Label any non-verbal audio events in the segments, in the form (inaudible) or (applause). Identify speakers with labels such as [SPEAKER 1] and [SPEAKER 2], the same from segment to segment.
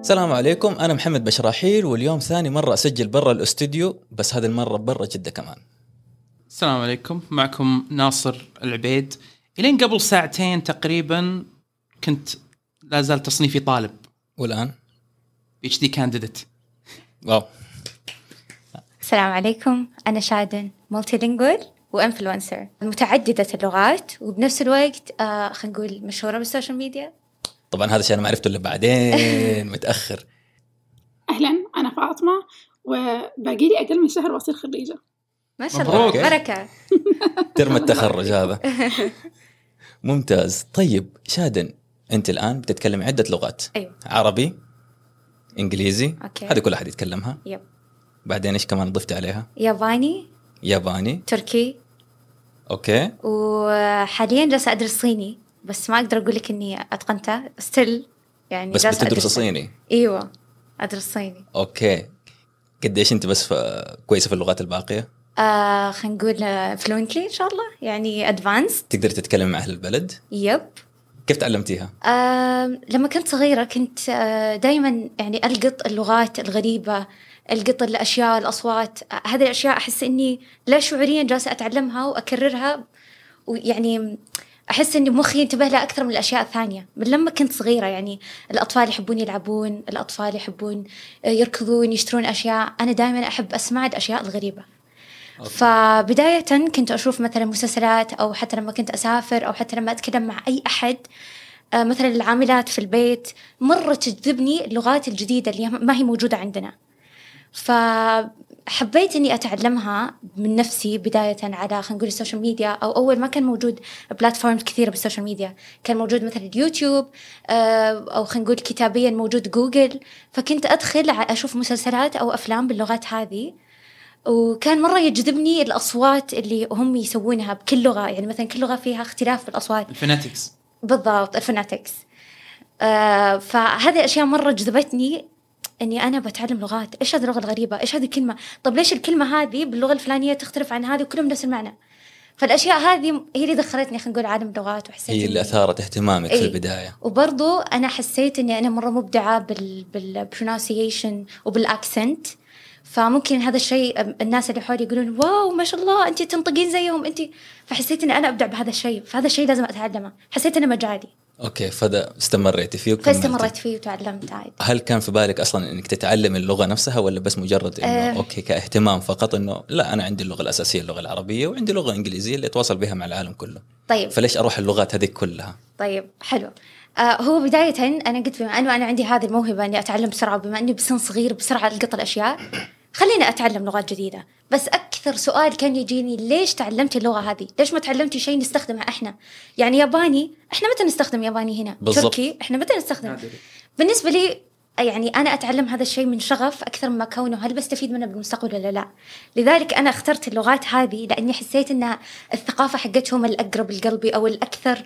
[SPEAKER 1] السلام عليكم انا محمد بشراحيل واليوم ثاني مره اسجل برا الاستوديو بس هذه المره برا جده كمان
[SPEAKER 2] السلام عليكم معكم ناصر العبيد الين قبل ساعتين تقريبا كنت لا زال تصنيفي طالب
[SPEAKER 1] والان
[SPEAKER 2] اتش دي كانديديت
[SPEAKER 1] واو
[SPEAKER 3] السلام عليكم أنا شادن مالتي لينجول وإنفلونسر متعددة اللغات وبنفس الوقت آه خلينا نقول مشهورة بالسوشيال ميديا
[SPEAKER 1] طبعا هذا الشيء انا ما عرفته الا
[SPEAKER 3] (laughs)
[SPEAKER 1] بعدين متاخر
[SPEAKER 4] أهلا أنا فاطمة وباقي لي أقل من شهر وأصير خريجة
[SPEAKER 3] ما شاء الله
[SPEAKER 2] مبروك.
[SPEAKER 3] بركة
[SPEAKER 1] ترم التخرج
[SPEAKER 3] (laughs)
[SPEAKER 1] هذا ممتاز طيب شادن انت الان بتتكلم عده لغات
[SPEAKER 3] أيوه
[SPEAKER 1] عربي انجليزي
[SPEAKER 3] أوكي.
[SPEAKER 1] هذه كل احد يتكلمها
[SPEAKER 3] يب
[SPEAKER 1] بعدين ايش كمان ضفت عليها
[SPEAKER 3] ياباني
[SPEAKER 1] ياباني
[SPEAKER 3] تركي
[SPEAKER 1] اوكي
[SPEAKER 3] وحاليا جالسة أدرس صيني بس ما أقدر أقول لك إني أتقنته ستيل يعني
[SPEAKER 1] بس
[SPEAKER 3] جالسة
[SPEAKER 1] بتدرس
[SPEAKER 3] أدرسه.
[SPEAKER 1] صيني
[SPEAKER 3] أيوه أدرس صيني
[SPEAKER 1] اوكي قديش انت بس ف- كويسه في اللغات الباقيه
[SPEAKER 3] آه خلينا نقول فلوينتلي إن شاء الله يعني أدفانسد
[SPEAKER 1] تقدر تتكلم مع اهل البلد
[SPEAKER 3] يب
[SPEAKER 1] كيف تعلمتيها
[SPEAKER 3] آم، لما كنت صغيرة كنت دائما يعني ألقط اللغات الغريبة ألقط الأشياء الأصوات آه، هذه الأشياء أحس إني لا شعوريا جالسة أتعلمها وأكررها ويعني أحس إن مخي ينتبه لها أكثر من الأشياء الثانية من لما كنت صغيرة يعني الأطفال يحبون يلعبون الأطفال يحبون آه، يركضون يشترون أشياء أنا دائما أحب أسمع الأشياء الغريبة فبداية كنت أشوف مثلا مسلسلات أو حتى لما كنت أسافر أو حتى لما أتكلم مع أي أحد آه، مثلا العاملات في البيت مرة تجذبني اللغات الجديدة اللي ما هي موجودة عندنا فحبيت اني اتعلمها من نفسي بدايه على خلينا نقول السوشيال ميديا او اول ما كان موجود بلاتفورمز كثيره بالسوشيال ميديا كان موجود مثلا اليوتيوب آه، او خلينا نقول كتابيا موجود جوجل فكنت ادخل ع- اشوف مسلسلات او افلام باللغات هذه وكان مرة يجذبني الأصوات اللي هم يسوونها بكل لغة يعني مثلا كل لغة فيها اختلاف في الأصوات
[SPEAKER 2] الفناتكس
[SPEAKER 3] بالضبط الفناتكس آه فهذه الاشياء مره جذبتني اني انا بتعلم لغات ايش هذه اللغه الغريبه ايش هذه الكلمه طب ليش الكلمه هذه باللغه الفلانيه تختلف عن هذه وكلهم نفس المعنى فالاشياء هذه هي اللي دخلتني خلينا نقول عالم اللغات وحسيت
[SPEAKER 1] هي
[SPEAKER 3] إني-
[SPEAKER 1] اللي اثارت اهتمامك في
[SPEAKER 3] إيه.
[SPEAKER 1] البدايه
[SPEAKER 3] وبرضو انا حسيت اني انا مره مبدعه بال بالبرونسيشن وبالاكسنت فممكن هذا الشيء أم- الناس اللي حولي يقولون واو ما شاء الله انت تنطقين زيهم انت فحسيت اني انا ابدع بهذا الشيء فهذا الشيء لازم اتعلمه حسيت انه مجالي
[SPEAKER 1] اوكي فده استمريتي فيه وكملتي.
[SPEAKER 3] فاستمريت فيه وتعلمت عادي
[SPEAKER 1] هل كان في بالك اصلا انك تتعلم اللغه نفسها ولا بس مجرد انه
[SPEAKER 3] آه.
[SPEAKER 1] اوكي كاهتمام فقط انه لا انا عندي اللغه الاساسيه اللغه العربيه وعندي لغه انجليزيه اللي اتواصل بها مع العالم كله
[SPEAKER 3] طيب
[SPEAKER 1] فليش اروح اللغات هذه كلها
[SPEAKER 3] طيب حلو آه هو بداية أنا قلت بما أنه أنا عندي هذه الموهبة إني أتعلم بسرعة بما إني بسن صغير بسرعة ألقط الأشياء خليني أتعلم لغات جديدة بس أكثر سؤال كان يجيني ليش تعلمتي اللغة هذه؟ ليش ما تعلمتي شيء نستخدمه إحنا؟ يعني ياباني إحنا متى نستخدم ياباني هنا؟
[SPEAKER 1] بالضبط.
[SPEAKER 3] تركي إحنا متى نستخدم؟ بالنسبة لي يعني أنا أتعلم هذا الشيء من شغف أكثر مما كونه هل بستفيد منه بالمستقبل ولا لا لذلك أنا اخترت اللغات هذه لأني حسيت أن الثقافة حقتهم الأقرب لقلبي أو الأكثر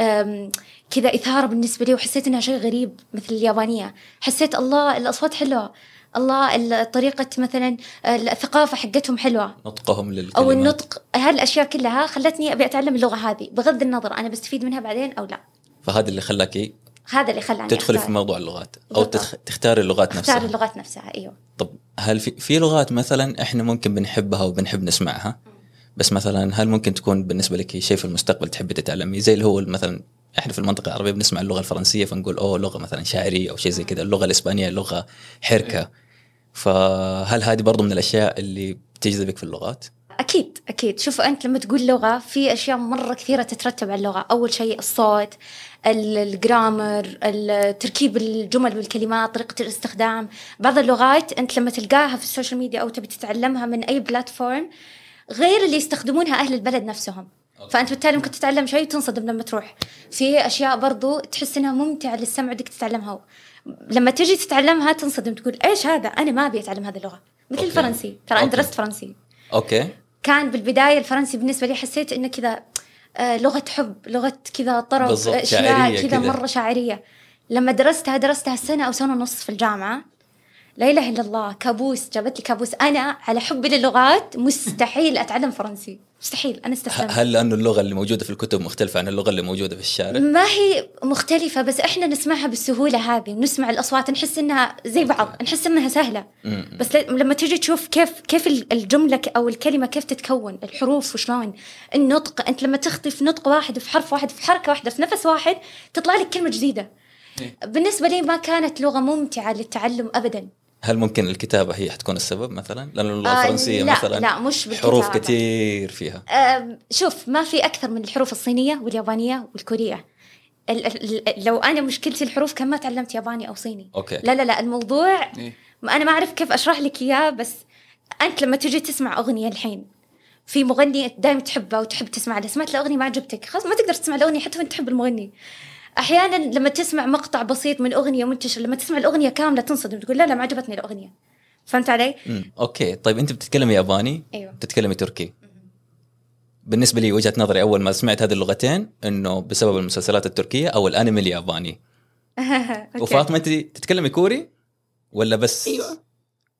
[SPEAKER 3] أم، كذا إثارة بالنسبة لي وحسيت أنها شيء غريب مثل اليابانية حسيت الله الأصوات حلوة الله ال- طريقة مثلا الثقافة حقتهم حلوة
[SPEAKER 1] نطقهم للكلمات
[SPEAKER 3] أو النطق هالأشياء كلها خلتني أبي أتعلم اللغة هذه بغض النظر أنا بستفيد منها بعدين أو لا
[SPEAKER 1] فهذا اللي خلاكي
[SPEAKER 3] هذا اللي خلاني
[SPEAKER 1] تدخلي في
[SPEAKER 3] أختار-
[SPEAKER 1] موضوع اللغات او
[SPEAKER 3] بالضبط.
[SPEAKER 1] تخ... تختاري اللغات نفسها
[SPEAKER 3] أختار اللغات نفسها أيوه
[SPEAKER 1] طب هل في في لغات مثلا احنا ممكن بنحبها وبنحب نسمعها بس مثلا هل ممكن تكون بالنسبه لك شيء في المستقبل تحبي تتعلمي زي اللي هو مثلا احنا في المنطقه العربيه بنسمع اللغه الفرنسيه فنقول اوه لغه مثلا شاعريه او شيء زي كذا اللغه الاسبانيه لغه حركه
[SPEAKER 3] إيه.
[SPEAKER 1] فهل هذه برضو من الاشياء اللي تجذبك في اللغات؟
[SPEAKER 3] أكيد أكيد شوف أنت لما تقول لغة في أشياء مرة كثيرة تترتب على اللغة أول شيء الصوت ال- الجرامر ال- تركيب الجمل والكلمات طريقة الاستخدام بعض اللغات أنت لما تلقاها في السوشيال ميديا أو تبي تتعلمها من أي بلاتفورم غير اللي يستخدمونها أهل البلد نفسهم فأنت بالتالي ممكن تتعلم شيء وتنصدم لما تروح في أشياء برضو تحس إنها ممتعة للسمع ودك تتعلمها لما تجي تتعلمها تنصدم تقول إيش هذا أنا ما أبي أتعلم هذه اللغة مثل
[SPEAKER 1] أوكي.
[SPEAKER 3] الفرنسي ترى أنا
[SPEAKER 1] أوكي.
[SPEAKER 3] درست فرنسي
[SPEAKER 1] اوكي
[SPEAKER 3] كان بالبداية الفرنسي بالنسبة لي حسيت إنه كذا آه، لغة حب لغة كذا طرب آه،
[SPEAKER 1] بالضبط،
[SPEAKER 3] أشياء
[SPEAKER 1] شاعرية
[SPEAKER 3] كذا
[SPEAKER 1] كذا.
[SPEAKER 3] مرة شاعرية لما درستها درستها سنة أو سنة ونص في الجامعة لا اله الا الله كابوس جابت لي كابوس انا على حبي للغات مستحيل اتعلم فرنسي مستحيل انا
[SPEAKER 1] ه-
[SPEAKER 3] استسلمت
[SPEAKER 1] هل لانه اللغه اللي موجوده في الكتب مختلفه عن اللغه اللي موجوده في الشارع؟
[SPEAKER 3] ما هي مختلفة بس احنا نسمعها بالسهولة هذه نسمع الأصوات نحس انها زي بعض نحس انها سهلة
[SPEAKER 1] مم.
[SPEAKER 3] بس ل- لما تجي تشوف كيف كيف ال- الجملة ك- أو الكلمة كيف تتكون الحروف وشلون النطق أنت لما تخطي في نطق واحد في حرف واحد في حركة واحدة في نفس واحد تطلع لك كلمة جديدة
[SPEAKER 2] إيه.
[SPEAKER 3] بالنسبة لي ما كانت لغة ممتعة للتعلم أبدا
[SPEAKER 1] هل ممكن الكتابه هي حتكون السبب مثلا؟ لانه اللغه
[SPEAKER 3] آه،
[SPEAKER 1] الفرنسيه
[SPEAKER 3] لا،
[SPEAKER 1] مثلا
[SPEAKER 3] لا، مش بالكتابة.
[SPEAKER 1] حروف كثير فيها
[SPEAKER 3] أم، شوف ما في أكثر من الحروف الصينية واليابانية والكورية ال- ال- ال- لو أنا مشكلتي الحروف كان ما تعلمت ياباني أو صيني
[SPEAKER 1] اوكي
[SPEAKER 3] لا لا لا الموضوع
[SPEAKER 2] إيه.
[SPEAKER 3] ما انا ما اعرف كيف اشرح لك اياه بس انت لما تجي تسمع اغنيه الحين في مغني دائما تحبه وتحب تسمع له سمعت الاغنيه ما عجبتك خلاص ما تقدر تسمع الاغنيه حتى وانت تحب المغني احيانا لما تسمع مقطع بسيط من اغنيه منتشر لما تسمع الاغنيه كامله تنصدم تقول لا لا ما عجبتني الاغنيه فهمت علي (laughs)
[SPEAKER 1] مم. اوكي طيب انت بتتكلمي ياباني
[SPEAKER 3] ايوه
[SPEAKER 1] بتتكلمي تركي بالنسبه لي وجهه نظري اول ما سمعت هذه اللغتين انه بسبب المسلسلات التركيه او الانمي الياباني
[SPEAKER 3] أوكي.
[SPEAKER 1] وفاطمه انت تتكلمي كوري ولا بس
[SPEAKER 2] أيوة.
[SPEAKER 4] ايوه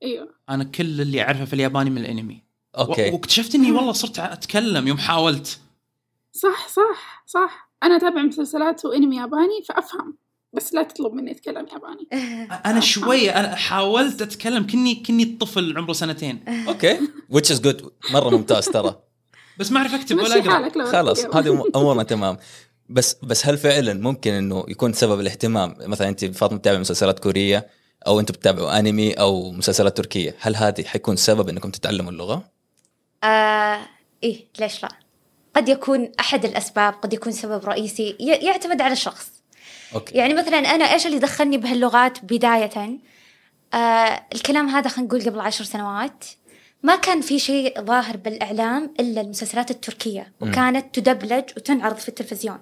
[SPEAKER 4] ايوه
[SPEAKER 2] انا كل اللي اعرفه في الياباني من الانمي و-
[SPEAKER 1] اوكي
[SPEAKER 2] واكتشفت اني والله صرت اتكلم يوم حاولت
[SPEAKER 4] صح صح صح انا اتابع مسلسلات وانمي ياباني فافهم بس لا تطلب مني اتكلم ياباني
[SPEAKER 2] انا شويه انا حاولت اتكلم كني كني الطفل عمره سنتين
[SPEAKER 1] اوكي which is good مره ممتاز ترى
[SPEAKER 2] بس ما اعرف اكتب ولا
[SPEAKER 4] مشي
[SPEAKER 2] اقرا
[SPEAKER 4] حالك لو
[SPEAKER 1] خلاص
[SPEAKER 4] تتكلم. (laughs)
[SPEAKER 1] هذه أم- امورنا تمام بس بس هل فعلا ممكن انه يكون سبب الاهتمام مثلا انت فاطمه بتتابع مسلسلات كوريه او انتم بتتابعوا انمي او مسلسلات تركيه هل هذه حيكون سبب انكم تتعلموا اللغه
[SPEAKER 3] آه ايه ليش لا قد يكون احد الاسباب قد يكون سبب رئيسي ي- يعتمد على الشخص
[SPEAKER 1] اوكي
[SPEAKER 3] يعني مثلا انا ايش اللي دخلني بهاللغات بدايه آه الكلام هذا خلينا نقول قبل عشر سنوات ما كان في شيء ظاهر بالاعلام الا المسلسلات التركيه
[SPEAKER 1] مم.
[SPEAKER 3] وكانت تدبلج وتنعرض في التلفزيون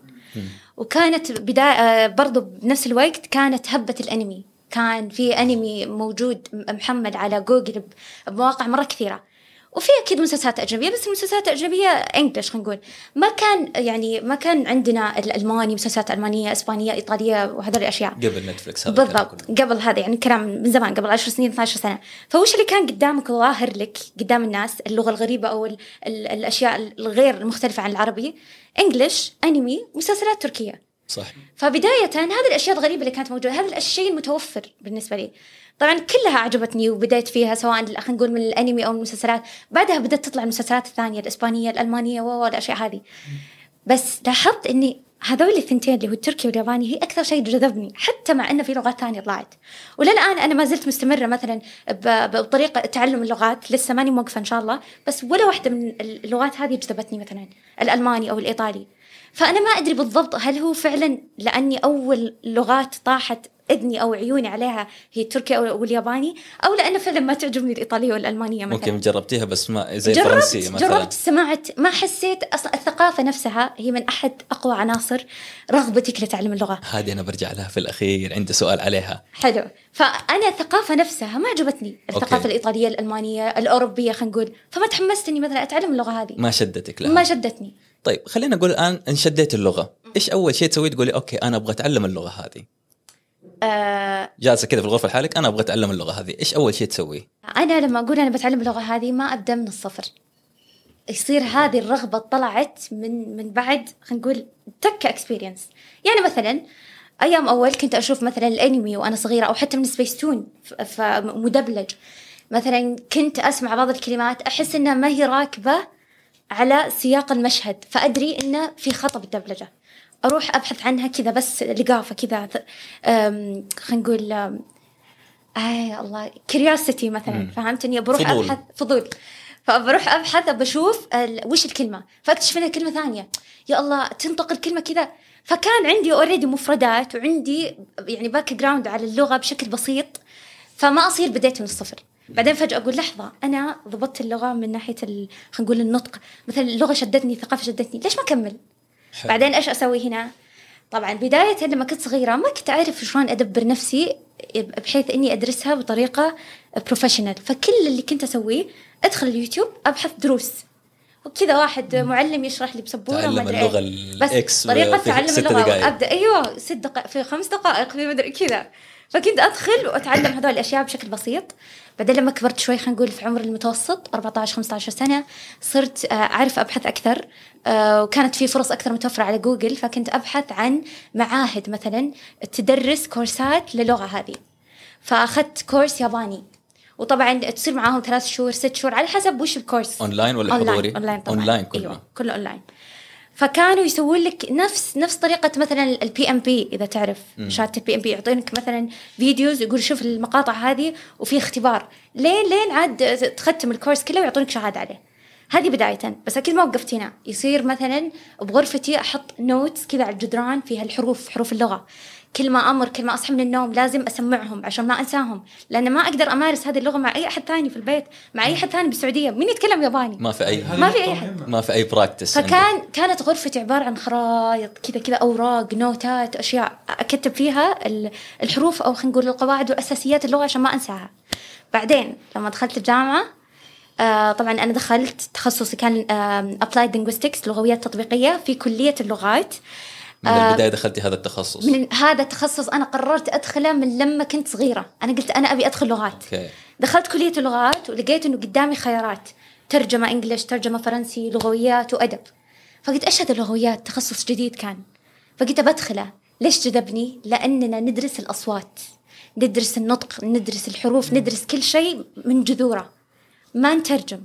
[SPEAKER 3] وكانت بداية آه، برضو بنفس الوقت كانت هبة الأنمي كان في أنمي موجود م- محمل على جوجل ب- بمواقع مرة كثيرة وفي أكيد مسلسلات أجنبية بس المسلسلات الأجنبية إنجلش خلينا نقول ما كان يعني ما كان عندنا الألماني مسلسلات ألمانية إسبانية إيطالية وهذول الأشياء
[SPEAKER 1] قبل نتفلكس هذا الكلام كله.
[SPEAKER 3] بالضبط قبل هذا يعني كلام من زمان قبل 10 سنين 12 سنه فوش اللي كان قدامك وظاهر لك قدام الناس اللغه الغريبه او ال ال الاشياء الغير المختلفه عن العربي انجلش انمي مسلسلات تركيه
[SPEAKER 1] صح
[SPEAKER 3] فبداية هذه الأشياء الغريبة اللي كانت موجودة هذا الشيء المتوفر بالنسبة لي طبعا كلها عجبتني وبدأت فيها سواء ال- خلينا نقول من الأنمي أو المسلسلات بعدها بدأت تطلع المسلسلات الثانية الإسبانية الألمانية و- والأشياء هذه بس لاحظت أني هذول الثنتين اللي هو التركي والياباني هي أكثر شيء جذبني حتى مع أنه في لغات ثانية طلعت وللآن أنا ما زلت مستمرة مثلا ب- بطريقة تعلم اللغات لسه ماني موقفة إن شاء الله بس ولا واحدة من اللغات هذه جذبتني مثلا الألماني أو الإيطالي فأنا ما أدري بالضبط هل هو فعلا لأني أول لغات طاحت إذني أو عيوني عليها هي التركي أو الياباني أو لأنه فعلا ما تعجبني الإيطالية والألمانية مثلا
[SPEAKER 1] ممكن جربتيها بس ما زي
[SPEAKER 3] جربت
[SPEAKER 1] الفرنسيه مثلا
[SPEAKER 3] جربت سمعت ما حسيت أصلا الثقافة نفسها هي من أحد أقوى عناصر رغبتك لتعلم اللغة
[SPEAKER 1] هذه انا برجع لها في الاخير عندي سؤال عليها
[SPEAKER 3] حلو فأنا الثقافة نفسها ما عجبتني الثقافة
[SPEAKER 1] أوكي.
[SPEAKER 3] الإيطالية الألمانية الأوروبية خلينا نقول فما تحمست إني مثلا أتعلم اللغة هذه
[SPEAKER 1] ما شدتك لها
[SPEAKER 3] ما شدتني
[SPEAKER 1] طيب خلينا نقول الان انشديت اللغه ايش اول شيء تسوي تقولي اوكي انا ابغى اتعلم اللغه هذه
[SPEAKER 3] آه
[SPEAKER 1] جالسه كذا في الغرفه لحالك انا ابغى اتعلم اللغه هذه ايش اول شيء تسويه
[SPEAKER 3] أنا لما أقول أنا بتعلم اللغة هذه ما أبدأ من الصفر يصير هذه الرغبة طلعت من من بعد خلينا نقول تكة اكسبيرينس يعني مثلا أيام أول كنت أشوف مثلا الأنمي وأنا صغيرة أو حتى من سبيستون ف- فمدبلج مثلا كنت أسمع بعض الكلمات أحس إنها ما هي راكبة على سياق المشهد فأدري إنه في خطأ بالدبلجة أروح أبحث عنها كذا بس لقافة كذا ث- أم، خلينا نقول أم، آي الله كريوسيتي مثلا
[SPEAKER 1] مم.
[SPEAKER 3] فهمت إني بروح
[SPEAKER 1] فضول.
[SPEAKER 3] أبحث فضول فبروح ابحث بشوف ال- وش الكلمه فاكتشف انها كلمه ثانيه يا الله تنطق الكلمه كذا فكان عندي اوريدي مفردات وعندي يعني باك جراوند على اللغه بشكل بسيط فما اصير بديت من الصفر بعدين فجاه اقول لحظه انا ضبطت اللغه من ناحيه ال- خلينا نقول النطق مثلا اللغه شدتني الثقافه شدتني ليش ما اكمل
[SPEAKER 1] حلو.
[SPEAKER 3] بعدين ايش اسوي هنا طبعا بدايه لما كنت صغيره ما كنت اعرف شلون ادبر نفسي بحيث اني ادرسها بطريقه بروفيشنال فكل اللي كنت اسويه ادخل اليوتيوب ابحث دروس وكذا واحد معلم يشرح لي بسبوره
[SPEAKER 1] تعلم
[SPEAKER 3] ما أدري
[SPEAKER 1] اللغه
[SPEAKER 3] إيه. بس
[SPEAKER 1] الاكس
[SPEAKER 3] طريقه
[SPEAKER 1] في
[SPEAKER 3] تعلم أيوة،
[SPEAKER 1] ست
[SPEAKER 3] اللغه
[SPEAKER 1] دقائق
[SPEAKER 3] ابدا ايوه ست دقائق في خمس دقائق في مدري كذا فكنت ادخل واتعلم هذول الاشياء بشكل بسيط بعدين لما كبرت شوي خلينا نقول في عمر المتوسط 14 15 سنه صرت آه، اعرف ابحث اكثر آه، وكانت في فرص اكثر متوفره على جوجل فكنت ابحث عن معاهد مثلا تدرس كورسات للغه هذه فاخذت كورس ياباني وطبعا تصير معاهم ثلاث شهور ست شهور على حسب وش الكورس
[SPEAKER 1] اونلاين ولا حضوري؟
[SPEAKER 3] اونلاين اونلاين طبعا
[SPEAKER 1] اونلاين كله
[SPEAKER 3] ايوه كله اونلاين فكانوا يسوون لك نفس نفس طريقه مثلا البي ام بي اذا تعرف شهاده البي ام بي يعطونك مثلا فيديوز يقول شوف المقاطع هذه وفي اختبار لين لين عاد تختم الكورس كله ويعطونك شهاده عليه هذه بداية بس أكيد ما وقفت هنا يصير مثلا بغرفتي أحط نوتس كذا على الجدران فيها الحروف حروف اللغة كل ما أمر كل ما أصحى من النوم لازم أسمعهم عشان ما أنساهم لأن ما أقدر أمارس هذه اللغة مع أي أحد ثاني في البيت مع أي أحد ثاني بالسعودية مين يتكلم ياباني
[SPEAKER 1] ما في اي
[SPEAKER 3] ما في أي أحد.
[SPEAKER 1] ما في اي براكتس
[SPEAKER 3] فكان كانت غرفتي عبارة عن خرايط كذا كذا أوراق نوتات أشياء أكتب فيها ال- الحروف أو خلينا نقول القواعد والأساسيات اللغة عشان ما أنساها بعدين لما دخلت الجامعة آه طبعا أنا دخلت تخصصي كان آم، Applied Linguistics لغويات تطبيقية في كلية اللغات
[SPEAKER 1] من البدايه دخلتي هذا التخصص
[SPEAKER 3] آه، من هذا التخصص أنا قررت أدخله من لما كنت صغيرة أنا قلت أنا أبي أدخل لغات
[SPEAKER 1] اوكي
[SPEAKER 3] دخلت كلية اللغات ولقيت إنه قدامي خيارات ترجمة إنجليش ترجمة فرنسي لغويات وأدب فقلت إيش هذا اللغويات تخصص جديد كان فقلت بدخله ليش جذبني لأننا ندرس الأصوات ندرس النطق ندرس الحروف ندرس كل شيء من جذوره ما نترجم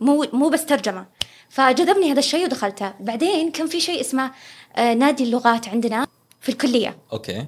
[SPEAKER 3] مو مو بس ترجمة فجذبني هذا الشيء ودخلته بعدين كان في شيء اسمه آه، نادي اللغات عندنا في الكلية
[SPEAKER 1] اوكي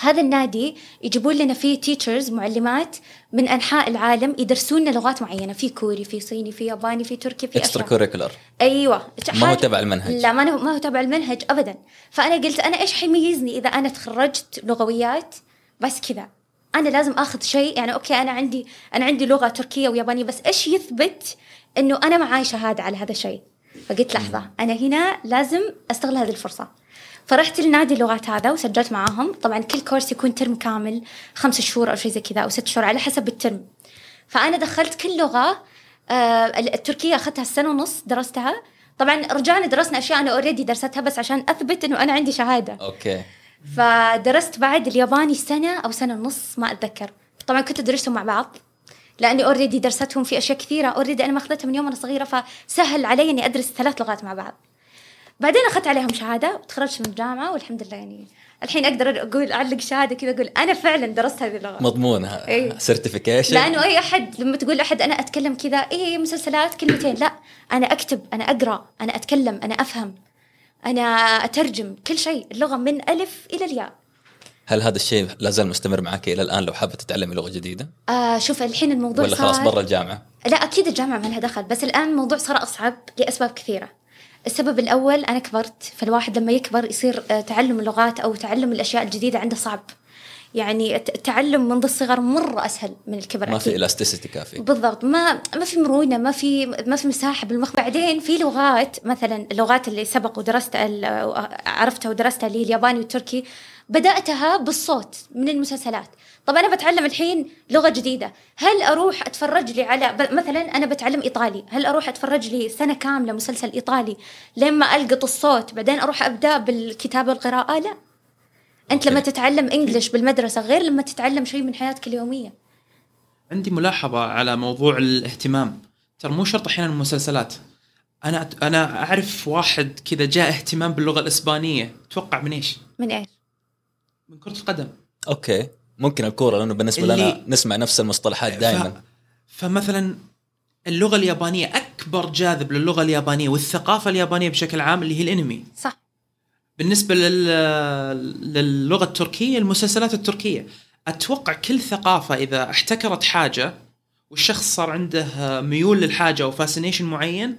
[SPEAKER 3] هذا النادي يجيبون لنا فيه تيتشرز معلمات من انحاء العالم يدرسون لنا لغات معينه في كوري في صيني في ياباني في تركي في
[SPEAKER 1] اكسترا
[SPEAKER 3] أشياء.
[SPEAKER 1] كوريكولر
[SPEAKER 3] ايوه
[SPEAKER 1] ما هو تبع المنهج.
[SPEAKER 3] لا ما هو- ما هو تبع المنهج ابدا فانا قلت انا ايش حيميزني اذا انا تخرجت لغويات بس كذا انا لازم اخذ شيء يعني اوكي انا عندي انا عندي لغه تركيه ويابانيه بس ايش يثبت انه انا معاي شهاده على هذا الشيء فقلت لحظه انا هنا لازم استغل هذه الفرصه فرحت لنادي اللغات هذا وسجلت معاهم طبعا كل كورس يكون ترم كامل خمس شهور او شيء زي كذا او ست شهور على حسب الترم فانا دخلت كل لغه آه، التركيه اخذتها السنه ونص درستها طبعا رجعنا درسنا اشياء انا اوريدي درستها بس عشان اثبت انه انا عندي شهاده
[SPEAKER 1] اوكي
[SPEAKER 3] فدرست بعد الياباني سنه او سنه ونص ما اتذكر طبعا كنت ادرسهم مع بعض لاني اوريدي درستهم في اشياء كثيره اوريدي انا ماخذتها من يوم انا صغيره فسهل علي اني ادرس ثلاث لغات مع بعض بعدين اخذت عليهم شهاده وتخرجت من الجامعه والحمد لله يعني الحين اقدر اقول اعلق شهاده كذا اقول انا فعلا درست هذه اللغه
[SPEAKER 1] مضمونها
[SPEAKER 3] إيه.
[SPEAKER 1] سيرتيفيكيشن
[SPEAKER 3] لانه اي احد لما تقول احد انا اتكلم كذا اي مسلسلات كلمتين لا انا اكتب انا اقرا انا اتكلم انا افهم انا اترجم كل شيء اللغه من الف الى الياء
[SPEAKER 1] هل هذا الشيء لا زال مستمر معك الى الان لو حابه تتعلمي لغه جديده
[SPEAKER 3] آه شوف الحين الموضوع
[SPEAKER 1] ولا خلاص
[SPEAKER 3] صار-
[SPEAKER 1] برا الجامعه
[SPEAKER 3] لا اكيد الجامعه ما لها دخل بس الان الموضوع صار اصعب لاسباب كثيره السبب الاول انا كبرت فالواحد لما يكبر يصير آه، تعلم اللغات او تعلم الاشياء الجديده عنده صعب يعني الت- التعلم منذ الصغر مره اسهل من الكبر
[SPEAKER 1] ما
[SPEAKER 3] أكيد.
[SPEAKER 1] في الاستيسيتي كافي
[SPEAKER 3] بالضبط ما ما في مرونه ما في ما في مساحه بالمخ بعدين في لغات مثلا اللغات اللي سبق ودرست عرفتها ودرستها اللي هي الياباني والتركي بداتها بالصوت من المسلسلات طب انا بتعلم الحين لغه جديده هل اروح اتفرج لي على ب- مثلا انا بتعلم ايطالي هل اروح اتفرج لي سنه كامله مسلسل ايطالي لما القط الصوت بعدين اروح ابدا بالكتابه والقراءه لا انت لما
[SPEAKER 1] أوكي.
[SPEAKER 3] تتعلم انجلش بالمدرسه غير لما تتعلم شيء من حياتك اليوميه
[SPEAKER 2] عندي ملاحظه على موضوع الاهتمام ترى مو شرط احيانا المسلسلات انا انا اعرف واحد كذا جاء اهتمام باللغه الاسبانيه تتوقع من ايش؟
[SPEAKER 3] من ايش
[SPEAKER 2] من كره القدم
[SPEAKER 1] اوكي ممكن الكوره لانه بالنسبه
[SPEAKER 2] اللي-
[SPEAKER 1] لنا نسمع نفس المصطلحات دائما
[SPEAKER 2] ف... فمثلا اللغه اليابانيه اكبر جاذب للغه اليابانيه والثقافه اليابانيه بشكل عام اللي هي الانمي
[SPEAKER 3] صح
[SPEAKER 2] بالنسبه لل... للغه التركيه المسلسلات التركيه اتوقع كل ثقافه اذا احتكرت حاجه والشخص صار عنده ميول للحاجه او فاسينيشن معين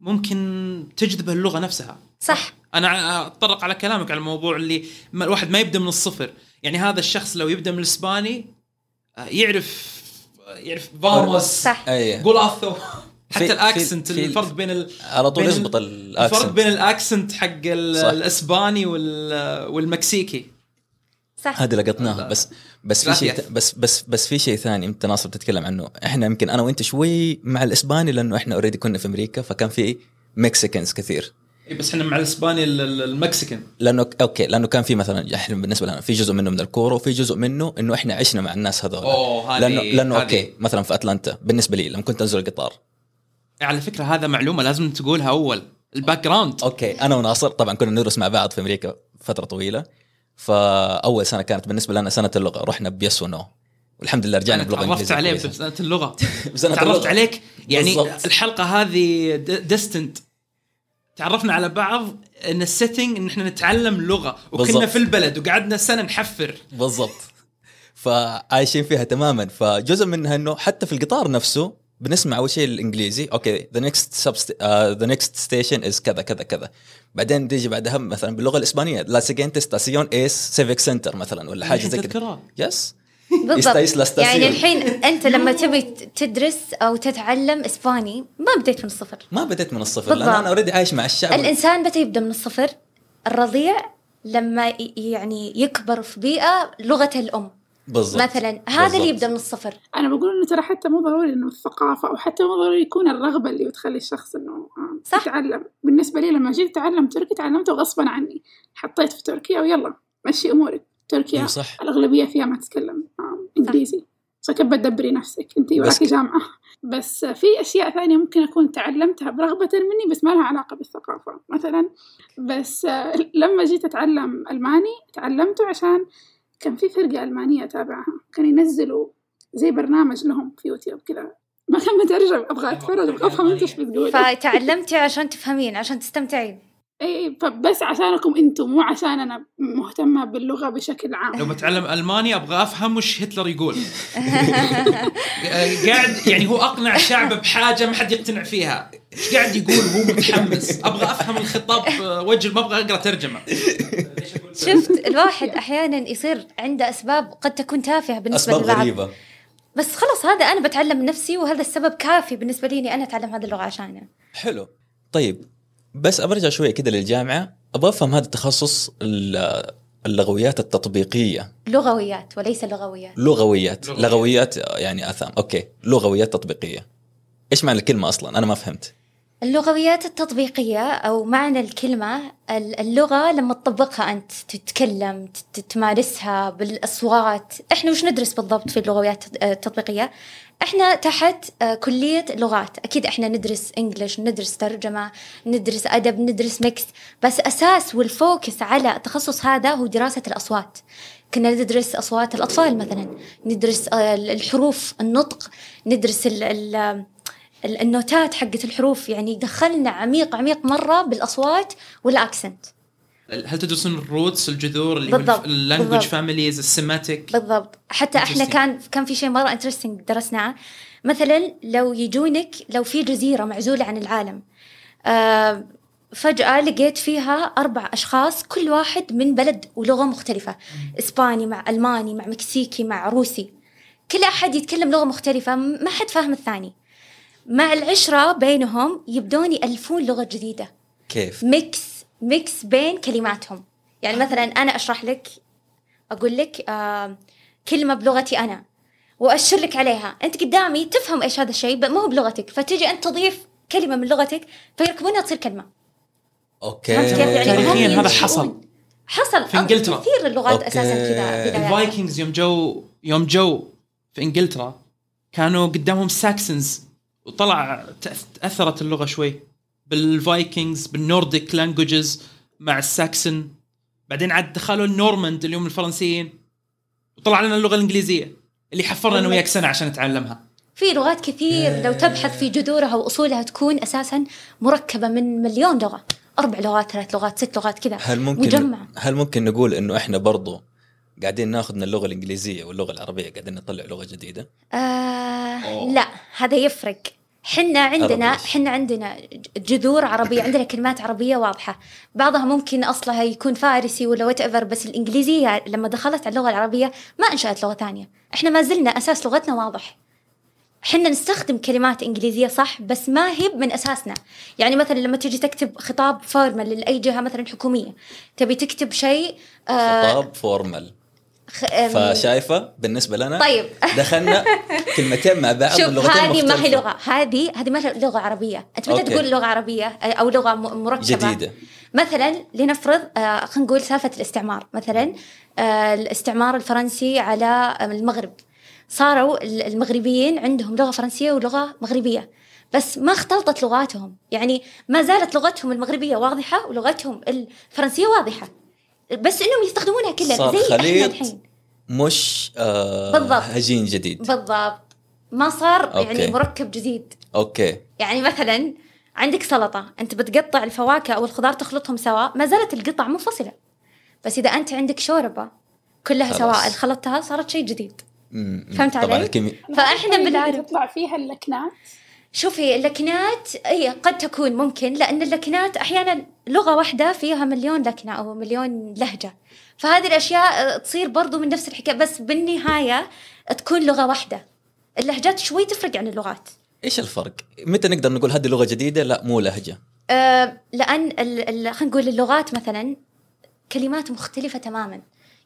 [SPEAKER 2] ممكن تجذبه اللغه نفسها
[SPEAKER 3] صح
[SPEAKER 2] انا اتطرق على كلامك على الموضوع اللي ما الواحد ما يبدا من الصفر يعني هذا الشخص لو يبدا من الاسباني آه، يعرف آه، يعرف فاموس
[SPEAKER 3] صح.
[SPEAKER 1] اي
[SPEAKER 2] جولاثو حتى
[SPEAKER 1] في-
[SPEAKER 2] الاكسنت
[SPEAKER 1] في- في-
[SPEAKER 2] الفرق بين ال...
[SPEAKER 1] على طول
[SPEAKER 2] بين ال-
[SPEAKER 1] يزبط
[SPEAKER 2] الفرق
[SPEAKER 1] الاكسنت
[SPEAKER 2] بين الاكسنت حق ال...
[SPEAKER 1] صح.
[SPEAKER 2] الاسباني وال... والمكسيكي
[SPEAKER 3] صح
[SPEAKER 1] هذا لقطناه بس بس في شيء
[SPEAKER 2] رافية.
[SPEAKER 1] بس بس بس في شيء ثاني انت ناصر بتتكلم عنه احنا يمكن انا وانت شوي مع الاسباني لانه احنا اوريدي كنا في امريكا فكان في مكسيكنز كثير
[SPEAKER 2] إي إيه، بس احنا مع الاسباني ال- ال- المكسيكان
[SPEAKER 1] لانه اوكي لانه كان في مثلا احنا بالنسبه لنا في جزء منه من الكوره وفي جزء منه انه احنا عشنا مع الناس هذول
[SPEAKER 2] اوه هذه
[SPEAKER 1] لانه لانه
[SPEAKER 2] هذه-
[SPEAKER 1] اوكي مثلا في اتلانتا بالنسبه لي لما كنت انزل القطار
[SPEAKER 2] إيه، على فكره هذا معلومه لازم تقولها اول الباك جراوند
[SPEAKER 1] اوكي انا وناصر طبعا كنا ندرس مع بعض في امريكا فتره طويله فاول سنه كانت بالنسبه لنا سنه اللغه رحنا بيس ونو والحمد لله رجعنا
[SPEAKER 2] انا
[SPEAKER 1] بلغه
[SPEAKER 2] تعرفت
[SPEAKER 1] انجليزيه
[SPEAKER 2] عليه
[SPEAKER 1] كويسة.
[SPEAKER 2] بسنه
[SPEAKER 1] (laughs)
[SPEAKER 2] اللغه
[SPEAKER 1] بسنة
[SPEAKER 2] تعرفت
[SPEAKER 1] اللغة.
[SPEAKER 2] عليك يعني
[SPEAKER 1] بالضبط.
[SPEAKER 2] الحلقه هذه ديستنت تعرفنا على بعض ان السيتنج ان احنا نتعلم لغه وكنا
[SPEAKER 1] بالضبط.
[SPEAKER 2] في البلد وقعدنا سنه نحفر
[SPEAKER 1] بالضبط فعايشين فيها تماما فجزء منها انه حتى في القطار نفسه بنسمع اول شيء الانجليزي اوكي ذا نكست ذا نكست ستيشن از كذا كذا كذا بعدين تيجي بعدها مثلا باللغه الاسبانيه لا سيجنت استاسيون ايس سيفيك سنتر مثلا ولا حاجه
[SPEAKER 2] الحين
[SPEAKER 1] زي
[SPEAKER 3] (laughs)
[SPEAKER 1] كذا
[SPEAKER 2] تذكرها.
[SPEAKER 1] يس يستايس
[SPEAKER 3] بالضبط
[SPEAKER 1] لاستاسيون.
[SPEAKER 3] يعني الحين انت لما تبي تدرس او تتعلم اسباني ما بديت من الصفر
[SPEAKER 1] ما بديت من الصفر لان
[SPEAKER 3] بالضبط.
[SPEAKER 1] انا اوريدي عايش مع الشعب
[SPEAKER 3] الانسان متى يبدا من الصفر الرضيع لما ي- يعني يكبر في بيئه لغته الام
[SPEAKER 1] بالضبط
[SPEAKER 3] مثلا هذا اللي
[SPEAKER 1] بالضبط.
[SPEAKER 3] يبدا من الصفر
[SPEAKER 4] انا بقول انه ترى حتى مو ضروري انه الثقافه او حتى مو ضروري يكون الرغبه اللي بتخلي الشخص انه آه،
[SPEAKER 3] صح.
[SPEAKER 4] يتعلم بالنسبه لي لما جيت اتعلم تركي تعلمته غصبا عني حطيت في تركيا ويلا مشي امورك تركيا
[SPEAKER 1] إيه صح
[SPEAKER 4] الاغلبيه فيها ما تتكلم آه، انجليزي فكيف بتدبري نفسك انت
[SPEAKER 1] بس
[SPEAKER 4] وراكي
[SPEAKER 1] ك-
[SPEAKER 4] جامعه بس في اشياء ثانيه ممكن اكون تعلمتها برغبه مني بس ما لها علاقه بالثقافه مثلا بس آه، لما جيت اتعلم الماني تعلمته عشان كان في فرقه المانيه اتابعها كانوا ينزلوا زي برنامج لهم في يوتيوب كذا ما كان مترجم ابغى اتفرج ابغى افهم انت ايش بتقول
[SPEAKER 3] فتعلمتي عشان تفهمين عشان تستمتعين
[SPEAKER 4] اي فبس عشانكم انتم مو عشان انا مهتمه باللغه بشكل عام
[SPEAKER 2] لو بتعلم الماني ابغى افهم وش هتلر يقول (laughs) آه، قاعد يعني هو اقنع شعبه بحاجه ما حد يقتنع فيها ايش قاعد يقول هو متحمس ابغى افهم الخطاب آه، وجه ما ابغى اقرا ترجمه
[SPEAKER 1] (laughs)
[SPEAKER 3] شفت الواحد احيانا يصير عنده اسباب قد تكون تافهه بالنسبه
[SPEAKER 1] اسباب
[SPEAKER 3] للبعض
[SPEAKER 1] غريبه
[SPEAKER 3] بس خلاص هذا انا بتعلم من نفسي وهذا السبب كافي بالنسبه لي اني انا اتعلم هذه اللغه عشانه
[SPEAKER 1] حلو طيب بس ابرجع شويه كده للجامعه ابغى افهم هذا التخصص ال- اللغويات التطبيقيه
[SPEAKER 3] لغويات وليس لغويات
[SPEAKER 1] لغويات
[SPEAKER 2] لغويات.
[SPEAKER 1] لغويات آه، يعني اثام اوكي لغويات تطبيقيه ايش معنى الكلمه اصلا انا ما فهمت
[SPEAKER 3] اللغويات التطبيقية أو معنى الكلمة ال- اللغة لما تطبقها أنت تتكلم تت- تمارسها بالأصوات إحنا وش ندرس بالضبط في اللغويات التط- التطبيقية إحنا تحت آه، كلية لغات أكيد إحنا ندرس إنجليش ندرس ترجمة ندرس أدب ندرس ميكس بس أساس والفوكس على التخصص هذا هو دراسة الأصوات كنا ندرس أصوات الأطفال مثلا ندرس آه، الحروف النطق ندرس ال- ال- ال- النوتات حقت الحروف يعني دخلنا عميق عميق مره بالاصوات والاكسنت
[SPEAKER 2] هل تدرسون الروتس الجذور اللي
[SPEAKER 3] بالضبط،
[SPEAKER 2] اللانجوج
[SPEAKER 3] بالضبط.
[SPEAKER 2] فاميليز السيماتيك
[SPEAKER 3] بالضبط حتى احنا
[SPEAKER 2] Interesting.
[SPEAKER 3] كان كان في شيء مره انترستنج درسناه مثلا لو يجونك لو في جزيره معزوله عن العالم آه فجاه لقيت فيها اربع اشخاص كل واحد من بلد ولغه مختلفه اسباني مع الماني مع مكسيكي مع روسي كل احد يتكلم لغه مختلفه م- ما حد فاهم الثاني مع العشره بينهم يبدون يالفون لغه جديده
[SPEAKER 1] كيف
[SPEAKER 3] ميكس ميكس بين كلماتهم يعني مثلا انا اشرح لك اقول لك آه كلمه بلغتي انا واشر لك عليها انت قدامي تفهم ايش هذا الشيء ب- ما هو بلغتك فتجي انت تضيف كلمه من لغتك فيركبونها تصير كلمه
[SPEAKER 1] اوكي
[SPEAKER 3] فهمت كيف يعني هم
[SPEAKER 2] تاريخيا هذا
[SPEAKER 3] يمشون.
[SPEAKER 2] حصل.
[SPEAKER 3] حصل
[SPEAKER 2] في إنجلترا.
[SPEAKER 3] كثير اللغات
[SPEAKER 1] أوكي.
[SPEAKER 3] اساسا كذا يعني. بدايات.
[SPEAKER 2] الفايكنجز يوم جو يوم جو في انجلترا كانوا قدامهم ساكسنز وطلع تأث- تاثرت اللغه شوي بالفايكنجز بالنورديك لانجوجز مع الساكسن بعدين عاد دخلوا النورمند اليوم الفرنسيين وطلع لنا اللغه الانجليزيه اللي حفرنا انا وياك سنه عشان نتعلمها
[SPEAKER 3] في لغات كثير لو تبحث في جذورها واصولها تكون اساسا مركبه من مليون لغه اربع لغات ثلاث لغات ست لغات كذا
[SPEAKER 1] هل ممكن
[SPEAKER 3] مجمعه
[SPEAKER 1] هل ممكن نقول انه احنا برضو قاعدين ناخذ من اللغه الانجليزيه واللغه العربيه قاعدين نطلع لغه جديده
[SPEAKER 3] آه
[SPEAKER 2] أوه.
[SPEAKER 3] لا هذا يفرق حنا عندنا
[SPEAKER 1] عربي.
[SPEAKER 3] حنا عندنا ج- جذور عربية عندنا كلمات عربية واضحة بعضها ممكن أصلها يكون فارسي ولا وات ايفر بس الإنجليزية لما دخلت على اللغة العربية ما أنشأت لغة ثانية إحنا ما زلنا أساس لغتنا واضح حنا نستخدم كلمات إنجليزية صح بس ما هي من أساسنا يعني مثلا لما تجي تكتب خطاب فورمال لأي جهة مثلا حكومية تبي تكتب شيء آه
[SPEAKER 1] خطاب فورمال
[SPEAKER 3] خ- آه، أم،
[SPEAKER 1] فشايفه بالنسبه لنا
[SPEAKER 3] طيب (laughs)
[SPEAKER 1] دخلنا كلمتين مع بعض
[SPEAKER 3] شوف
[SPEAKER 1] بلغتين
[SPEAKER 3] هذه ما هي
[SPEAKER 1] مختلفة.
[SPEAKER 3] لغه هذه هذه ما هي لغه عربيه انت متى
[SPEAKER 1] أوكي.
[SPEAKER 3] تقول لغه عربيه او لغه م- مركبه
[SPEAKER 1] جديده
[SPEAKER 3] مثلا لنفرض آه، خلينا نقول سالفه الاستعمار مثلا آه، الاستعمار الفرنسي على آه، المغرب صاروا ال- المغربيين عندهم لغه فرنسيه ولغه مغربيه بس ما اختلطت لغاتهم يعني ما زالت لغتهم المغربيه واضحه ولغتهم الفرنسيه واضحه بس انهم يستخدمونها كلها
[SPEAKER 1] صار
[SPEAKER 3] زي احنا
[SPEAKER 1] خليط.
[SPEAKER 3] الحين
[SPEAKER 1] مش آه
[SPEAKER 3] بالضبط.
[SPEAKER 1] هجين جديد
[SPEAKER 3] بالضبط ما صار يعني
[SPEAKER 1] أوكي.
[SPEAKER 3] مركب جديد
[SPEAKER 1] اوكي
[SPEAKER 3] يعني مثلا عندك سلطة أنت بتقطع الفواكه أو الخضار تخلطهم سواء ما زالت القطع منفصلة بس إذا أنت عندك شوربة كلها
[SPEAKER 1] خلاص.
[SPEAKER 3] سواء خلطتها صارت شيء جديد
[SPEAKER 1] مم.
[SPEAKER 3] فهمت
[SPEAKER 1] طبعا
[SPEAKER 3] علي؟
[SPEAKER 1] الكيمي...
[SPEAKER 3] فإحنا
[SPEAKER 4] اللي
[SPEAKER 3] بالعرب
[SPEAKER 4] تطلع فيها اللكنات
[SPEAKER 3] شوفي اللكنات أي قد تكون ممكن لأن اللكنات أحيانا لغة واحدة فيها مليون لكنة أو مليون لهجة فهذه الأشياء آه، تصير برضو من نفس الحكاية بس بالنهاية تكون لغة واحدة اللهجات شوي تفرق عن اللغات
[SPEAKER 1] ايش الفرق؟ متى نقدر نقول هذه لغه جديده؟ لا مو لهجه
[SPEAKER 3] آه، لان ال- ال- خلينا نقول اللغات مثلا كلمات مختلفه تماما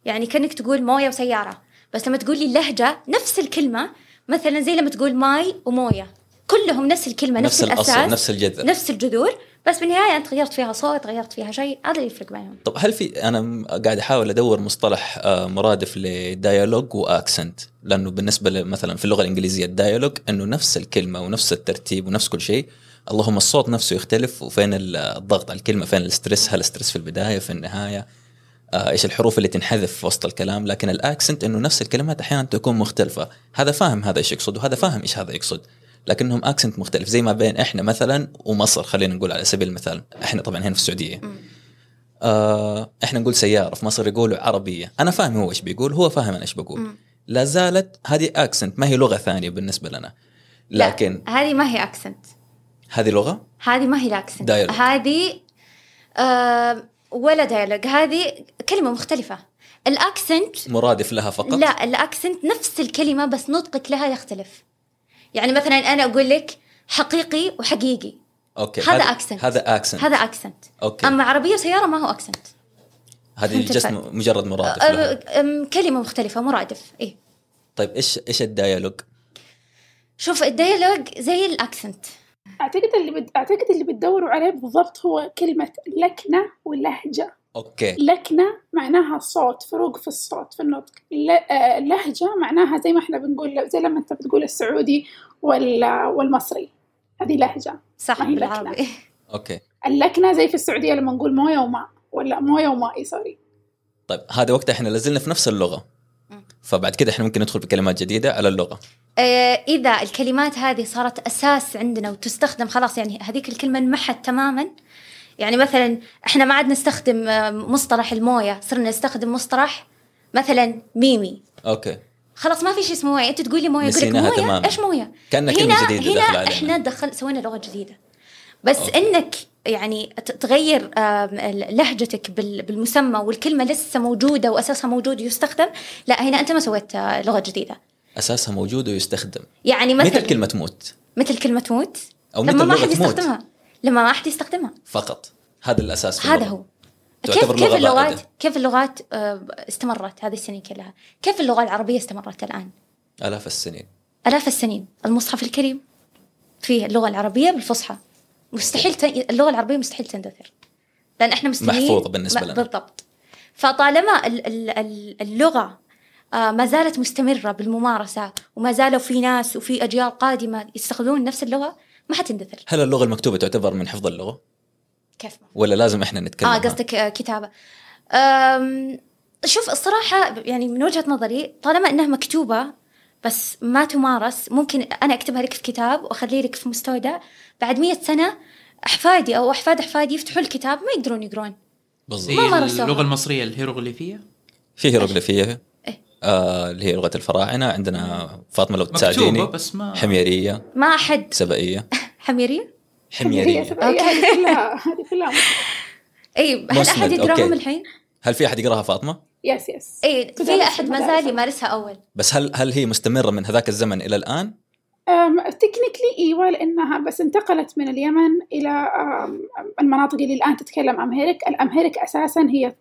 [SPEAKER 3] يعني كانك تقول مويه وسياره بس لما تقول لي لهجه نفس الكلمه مثلا زي لما تقول ماي ومويه كلهم نفس الكلمه نفس,
[SPEAKER 1] نفس الاصل
[SPEAKER 3] الاساس
[SPEAKER 1] نفس الجذر
[SPEAKER 3] نفس الجذور بس بالنهايه انت غيرت فيها صوت غيرت فيها شيء هذا اللي يفرق بينهم
[SPEAKER 1] طب هل في انا م- قاعد احاول ادور مصطلح آه، مرادف لديالوج واكسنت لانه بالنسبه ل- مثلا في اللغه الانجليزيه الديالوج انه نفس الكلمه ونفس الترتيب ونفس كل شيء اللهم الصوت نفسه يختلف وفين ال- الضغط على الكلمه فين الاسترس هل الاسترس في البدايه في النهايه آه، ايش الحروف اللي تنحذف في وسط الكلام لكن الاكسنت انه نفس الكلمات احيانا تكون مختلفه هذا فاهم هذا ايش يقصد وهذا فاهم ايش هذا يقصد لكنهم اكسنت مختلف زي ما بين احنا مثلا ومصر خلينا نقول على سبيل المثال احنا طبعا هنا في السعوديه
[SPEAKER 3] مم.
[SPEAKER 1] آه احنا نقول سياره في مصر يقولوا عربيه انا فاهم هو ايش بيقول هو فاهم انا ايش بقول
[SPEAKER 3] مم.
[SPEAKER 1] لا زالت هذه اكسنت ما هي لغه ثانيه بالنسبه لنا
[SPEAKER 3] لا،
[SPEAKER 1] لكن
[SPEAKER 3] هذه ما هي اكسنت
[SPEAKER 1] هذه لغه
[SPEAKER 3] هذه ما هي الاكسنت
[SPEAKER 1] Dialogue.
[SPEAKER 3] هذه آه ولا دايلوج هذه كلمه مختلفه الاكسنت
[SPEAKER 1] مرادف لها فقط
[SPEAKER 3] لا الاكسنت نفس الكلمه بس نطقك لها يختلف يعني مثلا انا اقول لك حقيقي وحقيقي
[SPEAKER 1] اوكي
[SPEAKER 3] هذا accent.
[SPEAKER 1] هذا اكسنت
[SPEAKER 3] هذا اكسنت
[SPEAKER 1] اوكي
[SPEAKER 3] اما عربيه وسياره ما هو اكسنت
[SPEAKER 1] هذه
[SPEAKER 3] فهمت
[SPEAKER 1] جست
[SPEAKER 3] الفرق.
[SPEAKER 1] مجرد مرادف
[SPEAKER 3] أه،
[SPEAKER 1] لها.
[SPEAKER 3] كلمه مختلفه مرادف إيه. اي
[SPEAKER 1] طيب ايش ايش الديالوج
[SPEAKER 3] شوف الديالوج زي الاكسنت
[SPEAKER 4] اعتقد اللي بد... اعتقد اللي بتدوروا عليه بالضبط هو كلمه لكنه واللهجه
[SPEAKER 1] اوكي
[SPEAKER 4] لكنه معناها صوت فروق في الصوت في النطق ل... آه، لهجه معناها زي ما احنا بنقول زي لما انت بتقول السعودي وال... والمصري هذه لهجه
[SPEAKER 3] صح
[SPEAKER 4] ما هي
[SPEAKER 3] بالعربي
[SPEAKER 1] اوكي
[SPEAKER 4] اللكنه زي في السعوديه لما نقول مويه وماء ولا مويه ومائي سوري
[SPEAKER 1] طيب هذا وقت احنا لازلنا في نفس اللغه
[SPEAKER 3] مم.
[SPEAKER 1] فبعد كده احنا ممكن ندخل بكلمات جديده على اللغه
[SPEAKER 3] (laughs) آه، إذا الكلمات هذه صارت أساس عندنا وتستخدم خلاص يعني هذيك الكلمة انمحت تماما يعني مثلا احنا ما عاد نستخدم آه، مصطلح الموية صرنا نستخدم مصطلح مثلا ميمي
[SPEAKER 1] اوكي
[SPEAKER 3] خلاص ما في شيء اسمه موية انت تقولي موية اقول لك
[SPEAKER 1] نسيناها
[SPEAKER 3] موية
[SPEAKER 1] تماماً.
[SPEAKER 3] ايش موية
[SPEAKER 1] كانها كلمه
[SPEAKER 3] هنا
[SPEAKER 1] جديده داخله
[SPEAKER 3] هنا
[SPEAKER 1] علينا
[SPEAKER 3] احنا دخل سوينا لغة جديدة بس
[SPEAKER 1] أوكي.
[SPEAKER 3] انك يعني ت- تغير آم، ال- لهجتك بال- بالمسمى والكلمة لسه موجودة وأساسها موجود يستخدم لا هنا أنت ما سويت آه، لغة جديدة
[SPEAKER 1] اساسها موجود ويستخدم
[SPEAKER 3] يعني مثلا
[SPEAKER 1] متى الكلمه تموت
[SPEAKER 3] مثل كلمة موت
[SPEAKER 1] او متى
[SPEAKER 3] لما ما
[SPEAKER 1] اللغه
[SPEAKER 3] حد
[SPEAKER 1] تموت
[SPEAKER 3] يستخدمها لما ما حد يستخدمها
[SPEAKER 1] فقط هذا الاساس في
[SPEAKER 3] هذا
[SPEAKER 1] اللغة.
[SPEAKER 3] هو كيف
[SPEAKER 1] تعتبر
[SPEAKER 3] كيف
[SPEAKER 1] لغة
[SPEAKER 3] اللغات
[SPEAKER 1] بائدة.
[SPEAKER 3] كيف اللغات آه، استمرت هذه السنين كلها كيف اللغة العربية استمرت الآن
[SPEAKER 1] الاف السنين
[SPEAKER 3] آلاف السنين المصحف الكريم فيه اللغة العربية بالفصحى مستحيل ت... اللغة العربية مستحيل تندثر لأن احنا مستحيل
[SPEAKER 1] محفوظة بالنسبة
[SPEAKER 3] ب-
[SPEAKER 1] لنا.
[SPEAKER 3] بالضبط فطالما ال- ال- ال- اللغة آه، ما زالت مستمرة بالممارسة وما زالوا في ناس وفي أجيال قادمة يستخدمون نفس اللغة ما حتندثر
[SPEAKER 1] هل اللغه المكتوبه تعتبر من حفظ اللغه
[SPEAKER 3] كيف ما
[SPEAKER 1] ولا لازم احنا نتكلم
[SPEAKER 3] اه قصدك آه، كتابه أم، شوف الصراحه يعني من وجهه نظري طالما انها مكتوبه بس ما تمارس ممكن انا اكتبها لك في كتاب واخليه لك في مستودع بعد مية سنه احفادي او احفاد احفادي يفتحوا الكتاب ما يقدرون يقرون
[SPEAKER 1] بالضبط
[SPEAKER 2] زي
[SPEAKER 3] ما مارسوها.
[SPEAKER 2] اللغه المصريه الهيروغليفيه
[SPEAKER 1] في هيروغليفيه
[SPEAKER 3] إيه.
[SPEAKER 1] آه اللي هي لغه الفراعنه عندنا فاطمه لو
[SPEAKER 2] مكتوبه
[SPEAKER 1] تساعديني
[SPEAKER 2] بس آه. ما
[SPEAKER 1] حميريه
[SPEAKER 3] ما احد (laughs)
[SPEAKER 1] سبائيه
[SPEAKER 3] حميري
[SPEAKER 4] هي
[SPEAKER 1] حميريه
[SPEAKER 4] سبعية، هذه كلها هذه كلها
[SPEAKER 3] اي هل احد
[SPEAKER 1] مسند،
[SPEAKER 3] يقراهم
[SPEAKER 1] أوكي.
[SPEAKER 3] الحين
[SPEAKER 1] هل في احد يقراها فاطمه
[SPEAKER 4] يس يس
[SPEAKER 3] اي في
[SPEAKER 4] تدرس
[SPEAKER 3] احد ما
[SPEAKER 4] المدارس.
[SPEAKER 3] زال يمارسها اول
[SPEAKER 1] بس هل هل هي مستمره من هذاك الزمن الى الان
[SPEAKER 4] تكنيكلي ايوه لانها بس انتقلت من اليمن الى آم، المناطق اللي الان تتكلم امهريك، الامهريك اساسا هي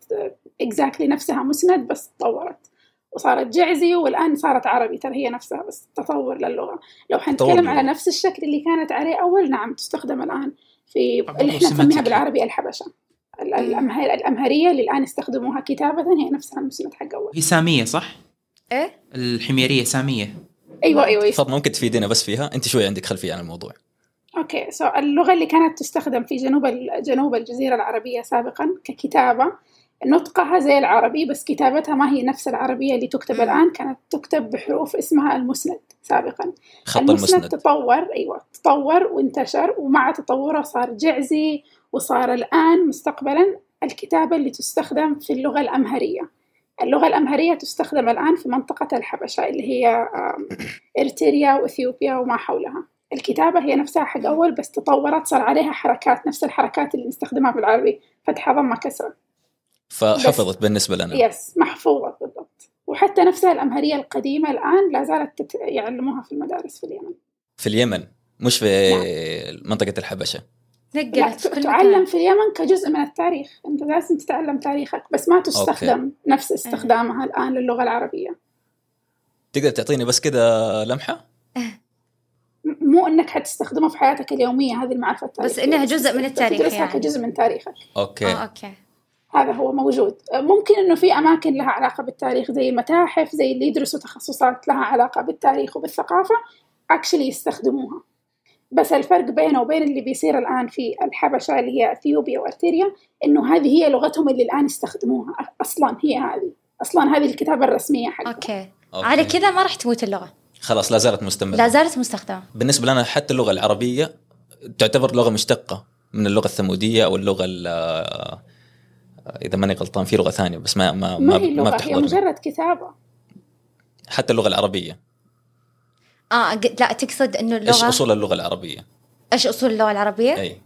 [SPEAKER 4] اكزاكتلي نفسها مسند بس تطورت وصارت جعزي والآن صارت عربي ترى هي نفسها بس تطور للغة لو
[SPEAKER 1] تطور.
[SPEAKER 4] حنتكلم على نفس الشكل اللي كانت عليه أول نعم تستخدم الآن في
[SPEAKER 2] طب
[SPEAKER 4] اللي
[SPEAKER 2] لو
[SPEAKER 4] احنا
[SPEAKER 2] سمعت
[SPEAKER 4] نسميها
[SPEAKER 2] كده.
[SPEAKER 4] بالعربي الحبشة ال- الأمهر- الأمهرية اللي الآن يستخدموها كتابة هي نفسها المسند حق أول
[SPEAKER 2] هي ساميه صح؟
[SPEAKER 3] ايه
[SPEAKER 2] الحميريه ساميه
[SPEAKER 4] أيوه أيوه
[SPEAKER 1] فاطمه ممكن تفيدنا بس فيها انت شوي عندك خلفيه عن الموضوع
[SPEAKER 4] اوكي سو اللغة اللي كانت تستخدم في جنوب ال- جنوب الجزيرة العربية سابقا ككتابة نطقها زي العربي بس كتابتها ما هي نفس العربية اللي تكتب
[SPEAKER 3] مم.
[SPEAKER 4] الآن كانت تكتب بحروف اسمها المسند سابقا
[SPEAKER 1] خط المسند
[SPEAKER 4] تطور ايوه تطور وانتشر ومع تطوره صار جعزي وصار الان مستقبلا الكتابه اللي تستخدم في اللغه الامهريه اللغه الامهريه تستخدم الان في منطقه الحبشه اللي هي آم، ارتريا واثيوبيا وما حولها الكتابة هي نفسها حق أول بس تطورت صار عليها حركات نفس الحركات اللي نستخدمها بالعربي فتحة ضمة كسرة
[SPEAKER 1] فحفظت بالنسبه لنا
[SPEAKER 4] يس محفوظة بالضبط وحتى نفسها الأمهرية القديمة الآن لا زالت تت- يعلموها في المدارس في اليمن
[SPEAKER 1] في اليمن مش في منطقه الحبشه
[SPEAKER 4] لا
[SPEAKER 3] نقلت في كل
[SPEAKER 4] تعلم
[SPEAKER 3] مكان
[SPEAKER 4] في اليمن كجزء من التاريخ انت لازم تتعلم تاريخك بس ما تستخدم أوكي. نفس استخدامها الان للغه العربيه
[SPEAKER 1] تقدر تعطيني بس كذا لمحه
[SPEAKER 4] م- مو انك حتستخدمها في حياتك اليوميه هذه المعرفه التاريخيه
[SPEAKER 3] بس إنها جزء من التاريخ
[SPEAKER 4] تدرسها
[SPEAKER 3] يعني.
[SPEAKER 4] كجزء من تاريخك
[SPEAKER 1] اوكي
[SPEAKER 3] اه اوكي
[SPEAKER 4] هذا هو موجود ممكن انه في اماكن لها علاقه بالتاريخ زي المتاحف زي اللي يدرسوا تخصصات لها علاقه بالتاريخ وبالثقافه اكشلي يستخدموها بس الفرق بينه وبين اللي بيصير الان في الحبشه اللي هي اثيوبيا وارتيريا انه هذه هي لغتهم اللي الان يستخدموها اصلا هي هذه اصلا هذه الكتابه الرسميه حقهم
[SPEAKER 3] اوكي
[SPEAKER 1] أوكي.
[SPEAKER 3] على كذا ما راح تموت اللغه
[SPEAKER 1] خلاص لا زالت مستمره
[SPEAKER 3] لا زالت مستخدمه
[SPEAKER 1] بالنسبه لنا حتى اللغه العربيه تعتبر لغه مشتقه من اللغه الثموديه او اللغه ال- آه، اذا ماني غلطان في لغه ثانيه بس ما ما
[SPEAKER 4] ما
[SPEAKER 1] ما,
[SPEAKER 4] هي
[SPEAKER 1] ما
[SPEAKER 4] لغه هي
[SPEAKER 1] بتحضرني
[SPEAKER 4] مجرد كتابه
[SPEAKER 1] حتى اللغه العربيه
[SPEAKER 3] اه ق- لا تقصد انه اللغه
[SPEAKER 1] ايش اصول اللغه العربيه
[SPEAKER 3] ايش اصول اللغه العربيه؟
[SPEAKER 1] اي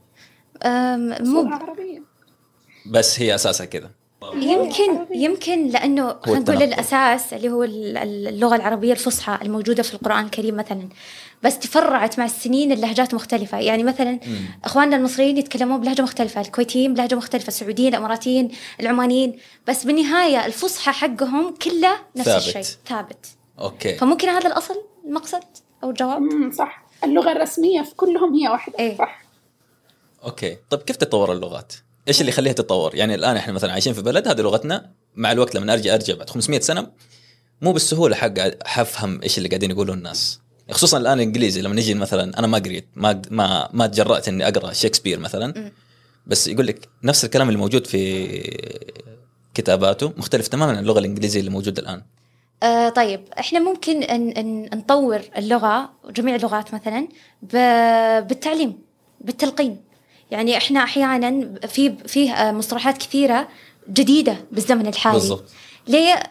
[SPEAKER 3] أم،
[SPEAKER 4] لغه
[SPEAKER 3] مو
[SPEAKER 4] عربيه
[SPEAKER 1] بس هي اساسها كذا
[SPEAKER 3] يمكن يمكن لانه خلينا نقول
[SPEAKER 1] التنقل.
[SPEAKER 3] الاساس اللي هو ال- ال- اللغه العربيه الفصحى الموجوده في القران الكريم مثلا بس تفرعت مع السنين اللهجات مختلفه يعني مثلا اخواننا المصريين يتكلمون بلهجه مختلفه الكويتيين بلهجه مختلفه السعوديين الاماراتيين العمانيين بس بالنهايه الفصحى حقهم كله نفس
[SPEAKER 1] ثابت.
[SPEAKER 3] الشيء ثابت
[SPEAKER 1] اوكي
[SPEAKER 3] فممكن هذا الاصل المقصد او الجواب
[SPEAKER 4] امم صح اللغه الرسميه في كلهم هي واحده
[SPEAKER 3] إيه.
[SPEAKER 4] صح
[SPEAKER 1] اوكي طيب كيف تتطور اللغات؟ ايش اللي يخليها تتطور؟ يعني الان احنا مثلا عايشين في بلد هذه لغتنا مع الوقت لما ارجع ارجع بعد 500 سنه مو بالسهوله حق حفهم ايش اللي قاعدين يقولوه الناس خصوصا الان الانجليزي لما نجي مثلا انا ما قريت ما ما ما تجرأت اني اقرا شكسبير مثلا
[SPEAKER 3] مم.
[SPEAKER 1] بس يقول لك نفس الكلام اللي موجود في كتاباته مختلف تماما عن اللغه الانجليزيه اللي موجوده الان
[SPEAKER 3] آه طيب احنا ممكن ان ان نطور اللغه جميع اللغات مثلا ب- بالتعليم بالتلقين يعني احنا احيانا في فيه آه، مصطلحات كثيره جديده بالزمن الحالي
[SPEAKER 1] بالضبط
[SPEAKER 3] ليه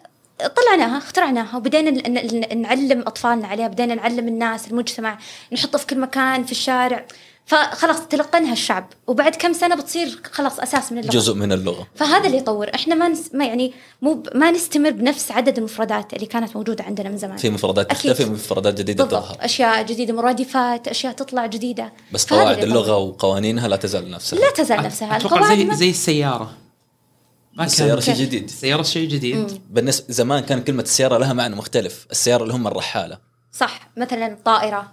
[SPEAKER 3] طلعناها اخترعناها وبدينا ن- ن- نعلم اطفالنا عليها بدينا نعلم الناس المجتمع نحطه في كل مكان في الشارع فخلاص تلقنها الشعب وبعد كم سنه بتصير خلاص اساس من اللغه
[SPEAKER 1] جزء من اللغه
[SPEAKER 3] فهذا اللي يطور احنا ما, نس... ما يعني مو ب... ما نستمر بنفس عدد المفردات اللي كانت موجوده عندنا من زمان
[SPEAKER 1] في مفردات
[SPEAKER 3] أكيد.
[SPEAKER 1] تختفي ومفردات جديده
[SPEAKER 3] بالضبط
[SPEAKER 1] تظهر
[SPEAKER 3] اشياء جديده مرادفات اشياء تطلع جديده
[SPEAKER 1] بس
[SPEAKER 3] فهذا
[SPEAKER 1] قواعد
[SPEAKER 3] اللي يطور.
[SPEAKER 1] اللغه وقوانينها لا تزال نفسها
[SPEAKER 3] لا تزال نفسها
[SPEAKER 2] اتوقع
[SPEAKER 3] القواعد
[SPEAKER 2] زي
[SPEAKER 3] ما...
[SPEAKER 2] زي السياره ما
[SPEAKER 1] السياره
[SPEAKER 2] كان
[SPEAKER 1] شيء
[SPEAKER 3] كيف؟
[SPEAKER 1] جديد
[SPEAKER 2] السياره شيء جديد
[SPEAKER 1] بالنسبه زمان كان كلمه السياره لها معنى مختلف السياره اللي هم الرحاله
[SPEAKER 3] صح مثلا الطائره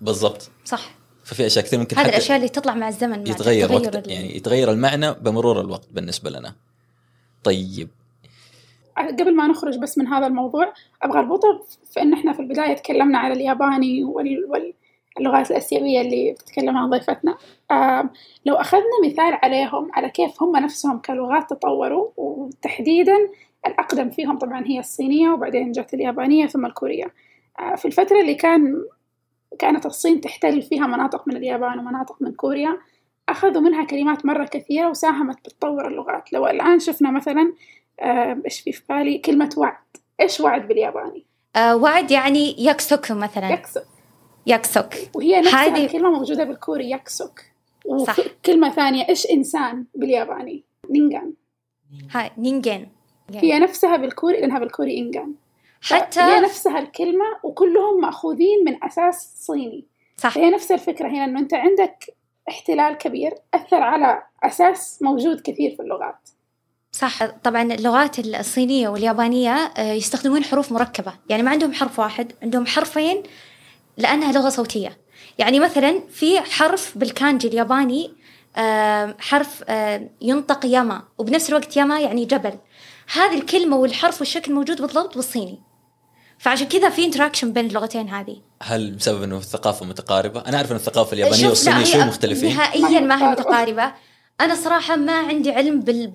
[SPEAKER 1] بالضبط
[SPEAKER 3] صح
[SPEAKER 1] ففي اشياء كثير ممكن
[SPEAKER 3] هذه
[SPEAKER 1] حتى
[SPEAKER 3] الاشياء اللي تطلع مع الزمن مع
[SPEAKER 1] يتغير
[SPEAKER 3] تغير
[SPEAKER 1] وقت
[SPEAKER 3] ال-
[SPEAKER 1] يعني يتغير المعنى بمرور الوقت بالنسبه لنا طيب
[SPEAKER 4] قبل ما نخرج بس من هذا الموضوع ابغى اربطه في ان احنا في البدايه تكلمنا على الياباني وال... وال... اللغات الاسيويه اللي بتتكلم عن ضيفتنا آم، لو اخذنا مثال عليهم على كيف هم نفسهم كلغات تطوروا وتحديدا الاقدم فيهم طبعا هي الصينيه وبعدين جت اليابانيه ثم الكوريه آه، في الفتره اللي كان كانت الصين تحتل فيها مناطق من اليابان ومناطق من كوريا أخذوا منها كلمات مرة كثيرة وساهمت بتطور اللغات لو الآن شفنا مثلا آه، ايش في في بالي كلمة وعد ايش وعد بالياباني؟
[SPEAKER 3] آه وعد يعني يكسوك مثلا
[SPEAKER 4] يكسك
[SPEAKER 3] يكسوك
[SPEAKER 4] وهي نفسها
[SPEAKER 3] هذه-
[SPEAKER 4] الكلمة موجودة بالكوري يكسك
[SPEAKER 3] صح.
[SPEAKER 4] وكلمة ثانية ايش انسان بالياباني؟ نينجان
[SPEAKER 3] هاي نينجين
[SPEAKER 4] هي نفسها بالكوري لانها بالكوري انجان هي
[SPEAKER 3] إيه. حتى
[SPEAKER 4] نفسها الكلمة وكلهم مأخوذين من اساس صيني
[SPEAKER 3] صح
[SPEAKER 4] هي نفس الفكرة هنا انه انت
[SPEAKER 3] إيه.
[SPEAKER 4] عندك احتلال كبير اثر على اساس موجود كثير في اللغات
[SPEAKER 3] صح طبعا اللغات الصينية واليابانية آه، يستخدمون حروف مركبة يعني ما عندهم حرف واحد عندهم حرفين لأنها لغة صوتية يعني مثلا في حرف بالكانجي الياباني آه، حرف آه، ينطق ياما وبنفس الوقت ياما يعني جبل هذه الكلمة والحرف والشكل موجود بالضبط بالصيني فعشان كذا في انتراكشن بين اللغتين هذه
[SPEAKER 1] هل بسبب انه الثقافه متقاربه؟ انا اعرف ان الثقافه اليابانيه
[SPEAKER 3] شوف،
[SPEAKER 1] والصينيه
[SPEAKER 3] لا،
[SPEAKER 1] شوي
[SPEAKER 3] هي
[SPEAKER 1] مختلفين
[SPEAKER 3] نهائيا ما هي متقاربه انا صراحه ما عندي علم بال...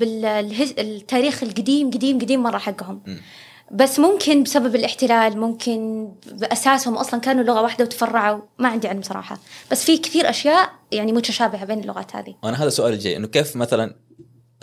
[SPEAKER 3] بالتاريخ القديم قديم قديم مره حقهم
[SPEAKER 1] م.
[SPEAKER 3] بس ممكن بسبب الاحتلال ممكن باساسهم اصلا كانوا لغه واحده وتفرعوا ما عندي علم صراحه بس في كثير اشياء يعني متشابهه بين اللغات هذه
[SPEAKER 1] وانا هذا سؤالي الجاي انه كيف مثلا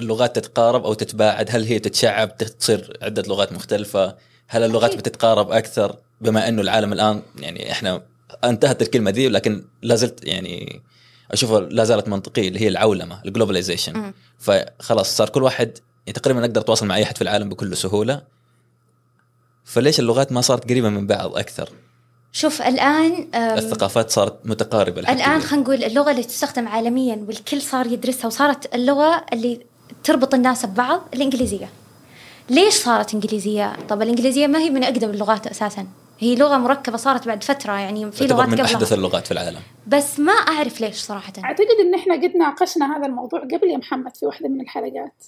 [SPEAKER 1] اللغات تتقارب او تتباعد؟ هل هي تتشعب تصير عده لغات مختلفه؟ هل اللغات
[SPEAKER 3] أكيد.
[SPEAKER 1] بتتقارب اكثر بما انه العالم الان يعني احنا انتهت الكلمه دي لكن لا زلت يعني اشوفها لا زالت منطقيه اللي هي العولمه الجلوباليزيشن
[SPEAKER 3] مم.
[SPEAKER 1] فخلاص صار كل واحد يعني تقريبا اقدر اتواصل مع اي احد في العالم بكل سهوله فليش اللغات ما صارت قريبه من بعض اكثر؟
[SPEAKER 3] شوف الان آم،
[SPEAKER 1] الثقافات صارت متقاربه لحد
[SPEAKER 3] الان
[SPEAKER 1] كبير.
[SPEAKER 3] خلينا نقول اللغه اللي تستخدم عالميا والكل صار يدرسها وصارت اللغه اللي تربط الناس ببعض الانجليزيه ليش صارت انجليزيه طب الانجليزيه ما هي من اقدم اللغات اساسا هي لغه مركبه صارت بعد فتره يعني في
[SPEAKER 1] تعتبر
[SPEAKER 3] لغات
[SPEAKER 1] من احدث
[SPEAKER 3] قبلها
[SPEAKER 1] اللغات في العالم
[SPEAKER 3] بس ما اعرف ليش صراحه
[SPEAKER 4] اعتقد ان احنا قد ناقشنا هذا الموضوع قبل يا محمد في واحده من الحلقات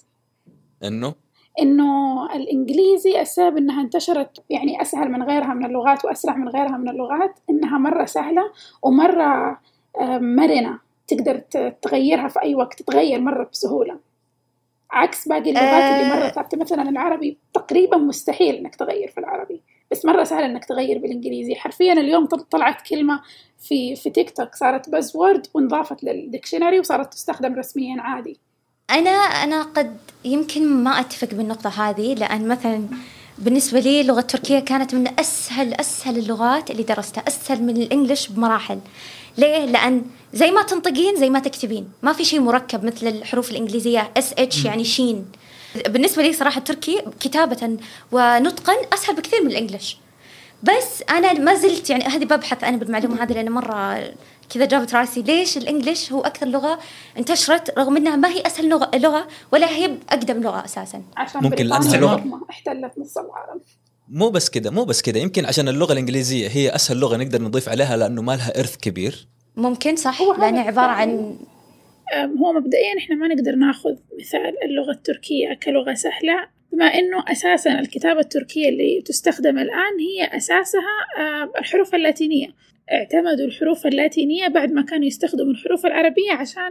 [SPEAKER 1] انه
[SPEAKER 4] انه الانجليزي السبب انها انتشرت يعني اسهل من غيرها من اللغات واسرع من غيرها من اللغات انها مره سهله ومره آه، مرنه تقدر ت- تغيرها في اي وقت تتغير مره بسهوله عكس باقي اللغات اللي مره
[SPEAKER 3] آه.
[SPEAKER 4] ثابته مثلا العربي تقريبا مستحيل انك تغير في العربي بس مره سهل انك تغير بالانجليزي حرفيا اليوم طل- طلعت كلمه في في تيك توك صارت بازورد وانضافت للدكشنري وصارت تستخدم رسميا عادي
[SPEAKER 3] انا انا قد يمكن ما اتفق بالنقطه هذه لان مثلا بالنسبه لي اللغه التركيه كانت من اسهل اسهل اللغات اللي درستها اسهل من الانجليش بمراحل ليه لان زي ما تنطقين زي ما تكتبين ما في شيء مركب مثل الحروف الانجليزيه اس اتش يعني شين بالنسبه لي صراحه التركي كتابه ونطقا اسهل بكثير من الانجليش بس انا ما زلت يعني هذه ببحث انا بالمعلومه هذه لان مره كذا جابت راسي ليش الانجليش هو اكثر لغه انتشرت رغم انها ما هي اسهل لغه, لغة ولا هي اقدم لغه اساسا
[SPEAKER 4] عشان
[SPEAKER 1] ممكن
[SPEAKER 4] بريطانيا
[SPEAKER 1] لأنها
[SPEAKER 2] لغة.
[SPEAKER 4] العظمى احتلت نص العالم
[SPEAKER 1] مو بس كذا مو بس كذا يمكن عشان اللغه الانجليزيه هي اسهل لغه نقدر نضيف عليها لانه ما لها ارث كبير
[SPEAKER 3] ممكن صح
[SPEAKER 4] هو هذا
[SPEAKER 3] لانها عباره عن
[SPEAKER 4] التعليم. أم، هو مبدئيا احنا ما نقدر ناخذ مثال اللغة التركية كلغة سهلة بما انه اساسا الكتابة التركية اللي تستخدم الان هي اساسها أم، الحروف اللاتينية اعتمدوا الحروف اللاتينية بعد ما كانوا يستخدموا الحروف العربية عشان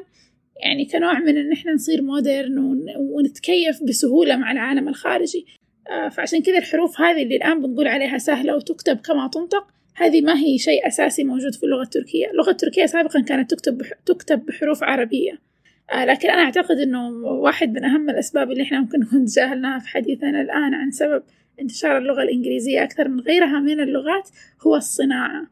[SPEAKER 4] يعني كنوع من ان احنا نصير مودرن ون- ونتكيف بسهولة مع العالم الخارجي أه، فعشان كذا الحروف هذه اللي الان بنقول عليها سهلة وتكتب كما تنطق هذه ما هي شيء أساسي موجود في اللغة التركية اللغة التركية سابقا كانت تكتب بح- تكتب بحروف عربية آه، لكن أنا أعتقد أنه واحد من أهم الأسباب اللي إحنا ممكن نكون تجاهلناها في حديثنا الآن عن سبب انتشار اللغة الإنجليزية أكثر من غيرها من اللغات هو الصناعة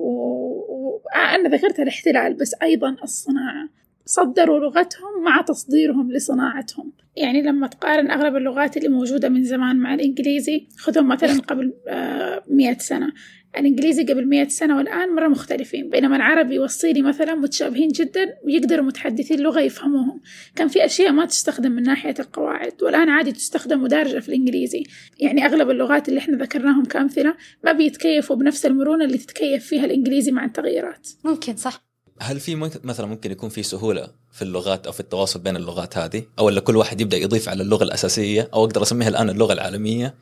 [SPEAKER 4] و- و- آه، أنا ذكرت الاحتلال بس أيضا الصناعة صدروا لغتهم مع تصديرهم لصناعتهم يعني لما تقارن أغلب اللغات اللي موجودة من زمان مع الإنجليزي خذهم مثلا قبل آه، مئة سنة الإنجليزي قبل مئة سنة والآن مرة مختلفين بينما العربي والصيني مثلا متشابهين جدا ويقدروا متحدثي اللغة يفهموهم كان في أشياء ما تستخدم من ناحية القواعد والآن عادي تستخدم مدارجة في الإنجليزي يعني أغلب اللغات اللي إحنا ذكرناهم كأمثلة ما بيتكيفوا بنفس المرونة اللي تتكيف فيها الإنجليزي مع التغييرات
[SPEAKER 3] ممكن صح
[SPEAKER 1] هل في ممكن مثلا ممكن يكون في سهوله في اللغات او في التواصل بين اللغات هذه او ولا كل واحد يبدا يضيف على اللغه الاساسيه او اقدر اسميها الان اللغه العالميه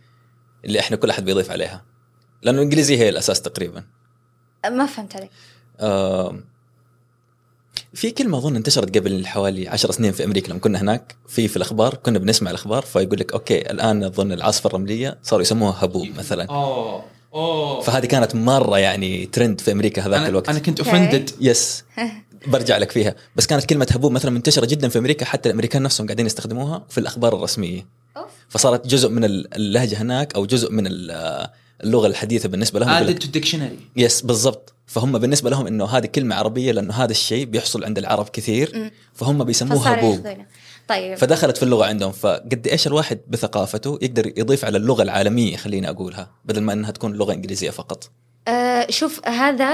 [SPEAKER 1] اللي احنا كل احد بيضيف عليها لانه الانجليزيه هي الاساس تقريبا
[SPEAKER 3] ما فهمت عليك
[SPEAKER 1] آم، في كلمة أظن انتشرت قبل حوالي عشر سنين في أمريكا لما كنا هناك في في الأخبار كنا بنسمع الأخبار فيقول لك أوكي الآن أظن العاصفة الرملية صاروا يسموها هبوب
[SPEAKER 2] آه.
[SPEAKER 1] مثلا
[SPEAKER 2] اوه اوه
[SPEAKER 1] فهذه كانت مرة يعني ترند في أمريكا هذاك
[SPEAKER 2] انا, أنا
[SPEAKER 1] الوقت
[SPEAKER 2] كنت اوفندد
[SPEAKER 3] (laughs)
[SPEAKER 1] يس برجع لك فيها بس كانت كلمة هبوب مثلا منتشرة جدا في أمريكا حتى الأمريكان نفسهم قاعدين يستخدموها في الأخبار الرسمية
[SPEAKER 3] أوف.
[SPEAKER 1] فصارت جزء من اللهجة هناك أو جزء من ال- اللغة الحديثة بالنسبة لهم يقول لك
[SPEAKER 2] ادد تو ديكشنري
[SPEAKER 1] يس بالضبط فهم بالنسبه لهم انه هذه كلمه عربيه لانه هذا الشيء بيحصل عند العرب كثير
[SPEAKER 3] مم.
[SPEAKER 1] فهم بيسموه
[SPEAKER 3] فصار
[SPEAKER 1] هبوب
[SPEAKER 3] ياخذونه طيب
[SPEAKER 1] فدخلت في اللغه عندهم فقد ايش الواحد بثقافته يقدر يضيف على اللغه العالميه خليني اقولها بدل ما انها تكون لغه انجليزيه فقط
[SPEAKER 3] آه، شوف هذا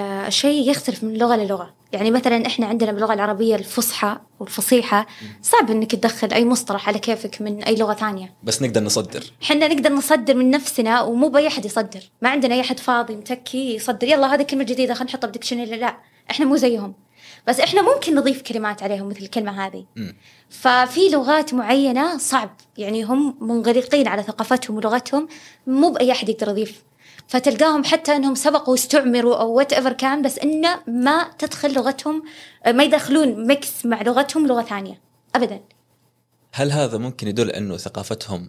[SPEAKER 3] الشيء يختلف من لغة للغة يعني مثلا احنا عندنا باللغة العربية الفصحى والفصيحة صعب انك تدخل اي مصطلح على كيفك من اي لغة ثانية
[SPEAKER 1] بس نقدر نصدر
[SPEAKER 3] احنا نقدر نصدر من نفسنا ومو باي احد يصدر ما عندنا اي احد فاضي متكي يصدر يلا هذه كلمة جديدة خلينا نحطها بديكشنري لا احنا مو زيهم بس احنا ممكن نضيف كلمات عليهم مثل الكلمة هذه
[SPEAKER 1] مم.
[SPEAKER 3] ففي لغات معينة صعب يعني هم منغلقين على ثقافتهم ولغتهم مو بأي أحد يقدر يضيف فتلقاهم حتى انهم سبقوا واستعمروا او وات ايفر كان بس انه ما تدخل لغتهم ما يدخلون ميكس مع لغتهم لغه ثانيه ابدا
[SPEAKER 1] هل هذا ممكن يدل انه ثقافتهم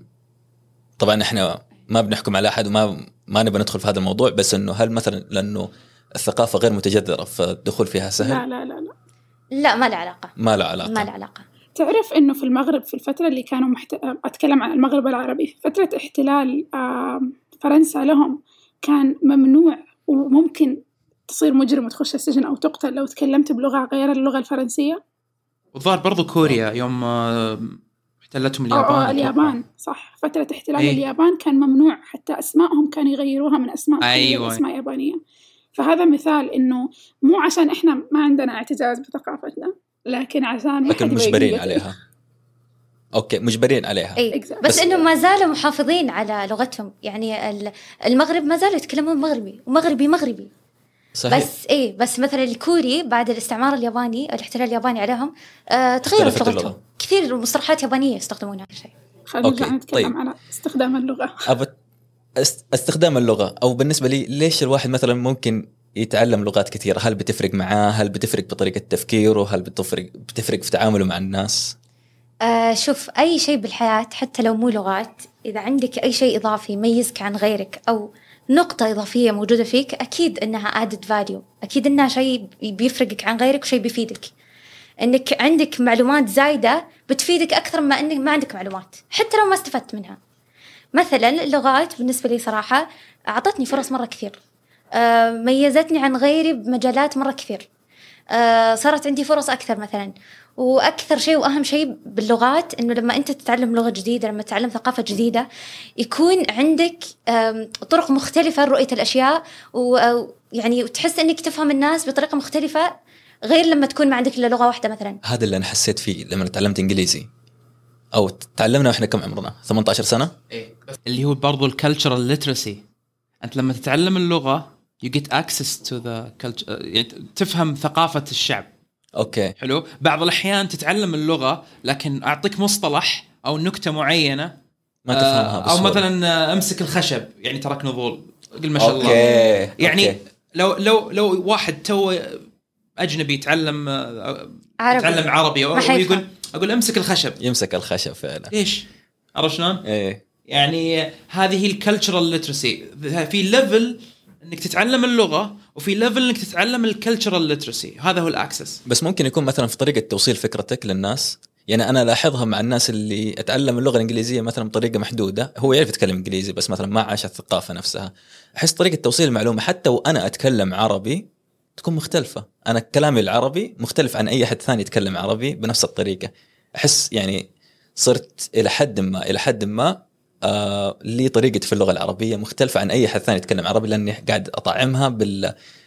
[SPEAKER 1] طبعا احنا ما بنحكم على احد وما ما نبي ندخل في هذا الموضوع بس انه هل مثلا لانه الثقافه غير متجذره فالدخول فيها
[SPEAKER 4] لا
[SPEAKER 1] سهل
[SPEAKER 4] لا لا لا
[SPEAKER 3] لا ما له علاقه
[SPEAKER 1] ما له
[SPEAKER 3] ما له
[SPEAKER 1] علاقه
[SPEAKER 3] علاقه
[SPEAKER 4] تعرف إنه في المغرب في الفترة اللي كانوا محت... أتكلم عن المغرب العربي في فترة احتلال آم، فرنسا لهم كان ممنوع وممكن تصير مجرم وتخش السجن أو تقتل لو تكلمت بلغة غير اللغة الفرنسية
[SPEAKER 2] والظاهر برضو كوريا يوم آه، احتلتهم
[SPEAKER 4] أو-
[SPEAKER 2] اليابان
[SPEAKER 4] أو اليابان صح فترة احتلال
[SPEAKER 2] إيه.
[SPEAKER 4] اليابان كان ممنوع حتى أسمائهم كانوا يغيروها من أسماء خليجية
[SPEAKER 2] أيوة.
[SPEAKER 4] لأسماء يابانية فهذا مثال إنه مو عشان إحنا ما عندنا اعتزاز بثقافتنا لكن عشان ما حد
[SPEAKER 1] لكن
[SPEAKER 4] يبغى
[SPEAKER 1] مجبرين
[SPEAKER 4] يقلد.
[SPEAKER 1] عليها اوكي مجبرين عليها
[SPEAKER 3] اي
[SPEAKER 4] Exactly.
[SPEAKER 1] بس-
[SPEAKER 3] بس, انهم ما زالوا محافظين على لغتهم يعني ال- المغرب ما زالوا يتكلمون مغربي ومغربي مغربي
[SPEAKER 1] صحيح
[SPEAKER 3] بس اي بس مثلا الكوري بعد الاستعمار الياباني الاحتلال الياباني عليهم آه تغيرت
[SPEAKER 1] اختلفت
[SPEAKER 3] لغتهم
[SPEAKER 1] اللغة.
[SPEAKER 3] كثير مصطلحات يابانيه يستخدمونها شيء
[SPEAKER 4] خلينا
[SPEAKER 1] أوكي،
[SPEAKER 4] نرجع نتكلم
[SPEAKER 1] طيب.
[SPEAKER 4] على استخدام اللغة
[SPEAKER 1] أبى است- استخدام اللغه او بالنسبه لي ليش الواحد مثلا ممكن يتعلم لغات كثيره هل بتفرق معاه هل بتفرق بطريقه تفكيره هل بتفرق بتفرق في تعامله مع الناس
[SPEAKER 3] آه شوف أي شيء بالحياة حتى لو مو لغات إذا عندك أي شيء إضافي يميزك عن غيرك أو نقطة إضافية موجودة فيك أكيد إنها added value أكيد إنها شيء بي- بيفرقك عن غيرك وشيء بيفيدك إنك عندك معلومات زايدة بتفيدك أكثر ما إنك ما عندك معلومات حتى لو ما استفدت منها مثلا اللغات بالنسبة لي صراحة أعطتني فرص مرة كثير آه، ميزتني عن غيري بمجالات مرة كثير آه، صارت عندي فرص أكثر مثلا وأكثر شيء وأهم شيء باللغات إنه لما أنت تتعلم لغة جديدة لما تتعلم ثقافة جديدة يكون عندك آم، طرق مختلفة لرؤية الأشياء ويعني وتحس إنك تفهم الناس بطريقة مختلفة غير لما تكون ما عندك إلا لغة واحدة مثلا
[SPEAKER 1] هذا اللي انا حسيت فيه لما تعلمت انجليزي او تعلمنا واحنا كم عمرنا 18 سنه
[SPEAKER 2] اللي هو برضو الكالتشرال ليترسي انت لما تتعلم اللغه يو جيت اكسس تو ذا يعني تفهم ثقافه الشعب
[SPEAKER 1] اوكي
[SPEAKER 2] حلو بعض الاحيان تتعلم اللغه لكن اعطيك مصطلح او نكته معينه
[SPEAKER 1] ما تفهمها
[SPEAKER 2] آه، او
[SPEAKER 1] بسهولة.
[SPEAKER 2] مثلا آه، امسك الخشب يعني ترك نضول قل ما شاء الله
[SPEAKER 1] اوكي
[SPEAKER 2] يعني
[SPEAKER 1] أوكي.
[SPEAKER 2] لو لو لو واحد تو اجنبي يتعلم آه،
[SPEAKER 3] عربي.
[SPEAKER 2] يتعلم عربي
[SPEAKER 3] ما حيفهم.
[SPEAKER 2] ويقول اقول امسك الخشب
[SPEAKER 1] يمسك الخشب فعلا
[SPEAKER 2] ايش عرفت شلون؟
[SPEAKER 1] ايه
[SPEAKER 2] يعني هذه هي الكالتشرال ليترسي في ليفل انك تتعلم اللغه وفي ليفل انك تتعلم الكالتشرال ليترسي هذا هو الاكسس
[SPEAKER 1] بس ممكن يكون مثلا في طريقه توصيل فكرتك للناس يعني انا لاحظها مع الناس اللي اتعلم اللغه الانجليزيه مثلا بطريقه محدوده هو يعرف يتكلم انجليزي بس مثلا ما عاش الثقافه نفسها احس طريقه توصيل المعلومه حتى وانا اتكلم عربي تكون مختلفه انا كلامي العربي مختلف عن اي احد ثاني يتكلم عربي بنفس الطريقه احس يعني صرت الى حد ما الى حد ما آه لي طريقتي في اللغه العربيه مختلفه عن اي احد ثاني يتكلم عربي لاني قاعد اطعمها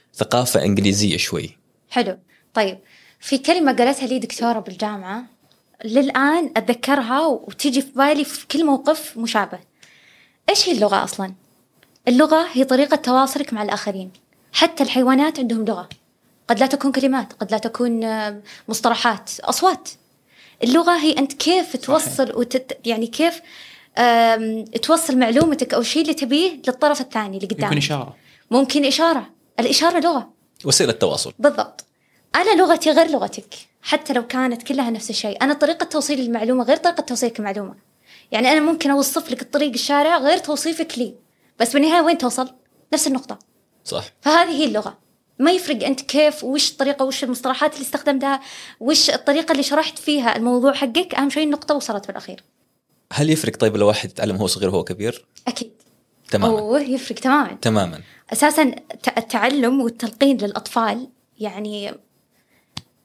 [SPEAKER 1] بالثقافه انجليزيه شوي
[SPEAKER 3] حلو طيب في كلمة قالتها لي دكتورة بالجامعة للآن أتذكرها وتيجي في بالي في كل موقف مشابه إيش هي اللغة أصلا؟ اللغة هي طريقة تواصلك مع الآخرين حتى الحيوانات عندهم لغة قد لا تكون كلمات قد لا تكون آه، مصطلحات أصوات اللغة هي أنت كيف توصل وتت... يعني كيف آم، توصل معلومتك أو الشيء اللي تبيه للطرف الثاني اللي
[SPEAKER 2] يكون
[SPEAKER 3] قدامك
[SPEAKER 2] اشاره
[SPEAKER 3] ممكن إشارة الإشارة لغة
[SPEAKER 1] وسيله تواصل
[SPEAKER 3] بالضبط انا لغتي غير لغتك حتى لو كانت كلها نفس الشيء انا طريقه توصيل المعلومه غير طريقه توصيلك المعلومه يعني انا ممكن اوصف لك الطريق الشارع غير توصيفك لي بس بالنهايه وين توصل نفس النقطه
[SPEAKER 1] صح
[SPEAKER 3] فهذه هي اللغه ما يفرق انت كيف وش الطريقه وش المصطلحات اللي استخدمتها وش الطريقه اللي شرحت فيها الموضوع حقك اهم شيء النقطه وصلت في الاخير
[SPEAKER 1] هل يفرق طيب لو واحد يتعلم هو صغير وهو كبير؟
[SPEAKER 3] اكيد
[SPEAKER 1] تماما أوه.
[SPEAKER 3] اوه يفرق تماما
[SPEAKER 1] تماما
[SPEAKER 3] اساسا ت- التعلم والتلقين للاطفال يعني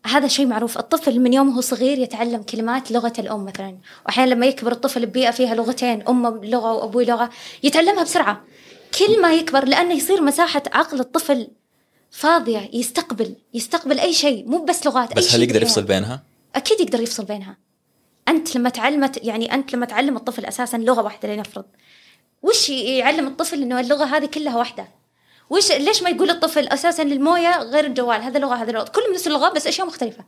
[SPEAKER 3] هذا شيء معروف الطفل من يوم هو صغير يتعلم كلمات لغة الأم مثلا وأحيانا لما يكبر الطفل ببيئة فيها لغتين أمه لغة وأبوه لغة يتعلمها بسرعة كل ما يكبر لأنه يصير مساحة عقل الطفل فاضية يستقبل يستقبل أي شيء مو بس لغات أي
[SPEAKER 1] بس هل
[SPEAKER 3] شيء
[SPEAKER 1] يقدر
[SPEAKER 3] بالحياة.
[SPEAKER 1] يفصل بينها؟
[SPEAKER 3] أكيد يقدر يفصل بينها أنت لما تعلمت يعني أنت لما تعلم الطفل أساسا لغة واحدة لنفرض وش يعلم الطفل إنه اللغة هذه كلها واحدة وش ليش ما يقول الطفل اساسا المويه غير الجوال هذا لغه هذا لغه كل نفس اللغه بس اشياء مختلفه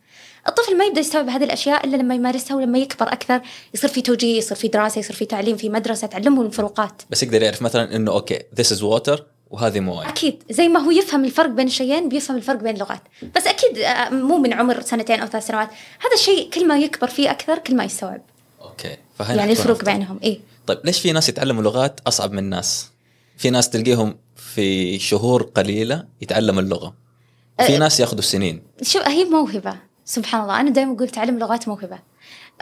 [SPEAKER 3] الطفل ما يبدا يستوعب هذه الاشياء الا لما يمارسها ولما يكبر اكثر يصير في توجيه يصير في دراسه يصير في تعليم في مدرسه تعلمه الفروقات
[SPEAKER 1] بس يقدر يعرف مثلا انه اوكي ذيس از ووتر وهذه مويه
[SPEAKER 3] اكيد زي ما هو يفهم الفرق بين الشيئين بيفهم الفرق بين اللغات بس اكيد آه، مو من عمر سنتين او ثلاث سنوات هذا الشيء كل ما يكبر فيه اكثر كل ما يستوعب
[SPEAKER 1] اوكي فهنا
[SPEAKER 3] يعني
[SPEAKER 1] حتكون
[SPEAKER 3] الفروق
[SPEAKER 1] أفضل.
[SPEAKER 3] بينهم اي
[SPEAKER 1] طيب ليش في ناس يتعلموا لغات اصعب من ناس؟ في ناس تلقيهم في شهور قليله يتعلم اللغه في
[SPEAKER 3] أه.
[SPEAKER 1] ناس ياخذوا سنين
[SPEAKER 3] شو هي موهبة سبحان الله أنا دائما أقول تعلم لغات موهبة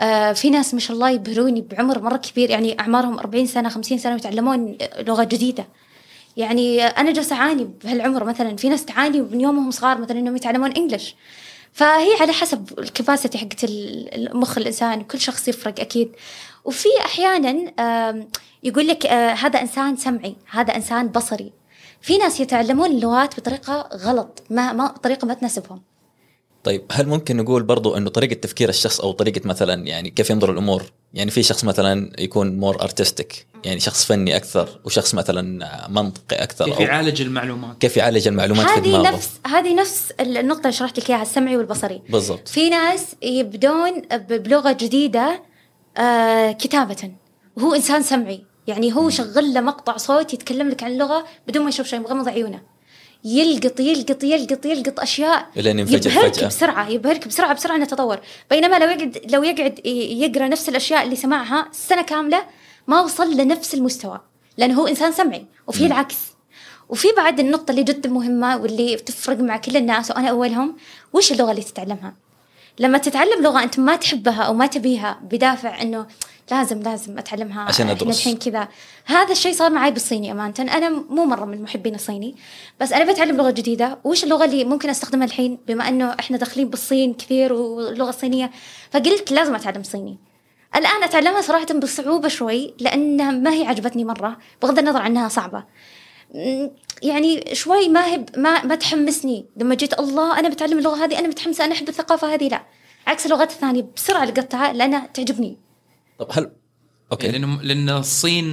[SPEAKER 3] آه في ناس ما شاء الله يبهروني بعمر مرة كبير يعني أعمارهم 40 سنة 50 سنة ويتعلمون لغة جديدة يعني أنا جالسة أعاني بهالعمر مثلا في ناس تعاني من يومهم صغار مثلا إنهم يتعلمون إنجلش فهي على حسب الكباسة حقت ال- المخ الإنسان كل شخص يفرق أكيد وفي أحيانا آم، يقول لك آه، هذا إنسان سمعي هذا إنسان بصري في ناس يتعلمون اللغات بطريقة غلط ما, ما طريقة ما تناسبهم
[SPEAKER 1] طيب هل ممكن نقول برضو انه طريقه تفكير الشخص او طريقه مثلا يعني كيف ينظر الامور يعني في شخص مثلا يكون مور ارتستيك يعني شخص فني اكثر وشخص مثلا منطقي اكثر
[SPEAKER 2] كيف
[SPEAKER 1] او
[SPEAKER 2] يعالج المعلومات
[SPEAKER 1] كيف يعالج المعلومات في
[SPEAKER 3] هذه
[SPEAKER 1] دماغه
[SPEAKER 3] نفس هذه نفس النقطة اللي شرحت لك إياها السمعي والبصري
[SPEAKER 1] بالضبط
[SPEAKER 3] في ناس يبدون ب- بلغة جديدة آه، كتابة وهو إنسان سمعي يعني هو شغل له مقطع صوت يتكلم لك عن اللغة بدون ما يشوف شيء مغمض عيونه يلقط يلقط يلقط يلقط أشياء
[SPEAKER 1] لين ينفجر
[SPEAKER 3] يبهرك
[SPEAKER 1] فجاه
[SPEAKER 3] بسرعة يبهرك بسرعة بسرعة نتطور بينما لو يقعد لو يقعد ي- يقرأ نفس الأشياء اللي سمعها سنة كاملة ما وصل لنفس المستوى لأنه هو إنسان سمعي وفي العكس وفي بعد النقطة اللي جدا مهمة واللي بتفرق مع كل الناس وأنا أولهم وش اللغة اللي تتعلمها لما تتعلم لغة أنت ما تحبها أو ما تبيها بدافع أنه لازم لازم أتعلمها
[SPEAKER 1] عشان
[SPEAKER 3] إحنا
[SPEAKER 1] أدرس.
[SPEAKER 3] الحين كذا هذا الشيء صار معي بالصيني أمانة أنا مو مرة من محبين الصيني بس أنا بتعلم لغة جديدة وش اللغة اللي ممكن أستخدمها الحين بما أنه إحنا داخلين بالصين كثير واللغة الصينية فقلت لازم أتعلم صيني الآن أتعلمها صراحة بصعوبة شوي لأنها ما هي عجبتني مرة بغض النظر عنها صعبة م- يعني شوي ما هي ب- ما ما تحمسني لما جيت الله انا بتعلم اللغه هذه انا متحمسه انا احب الثقافه هذه لا عكس اللغات الثانيه بسرعه لقطتها لانها تعجبني
[SPEAKER 1] طب هل اوكي
[SPEAKER 2] لان لان إيه، الصين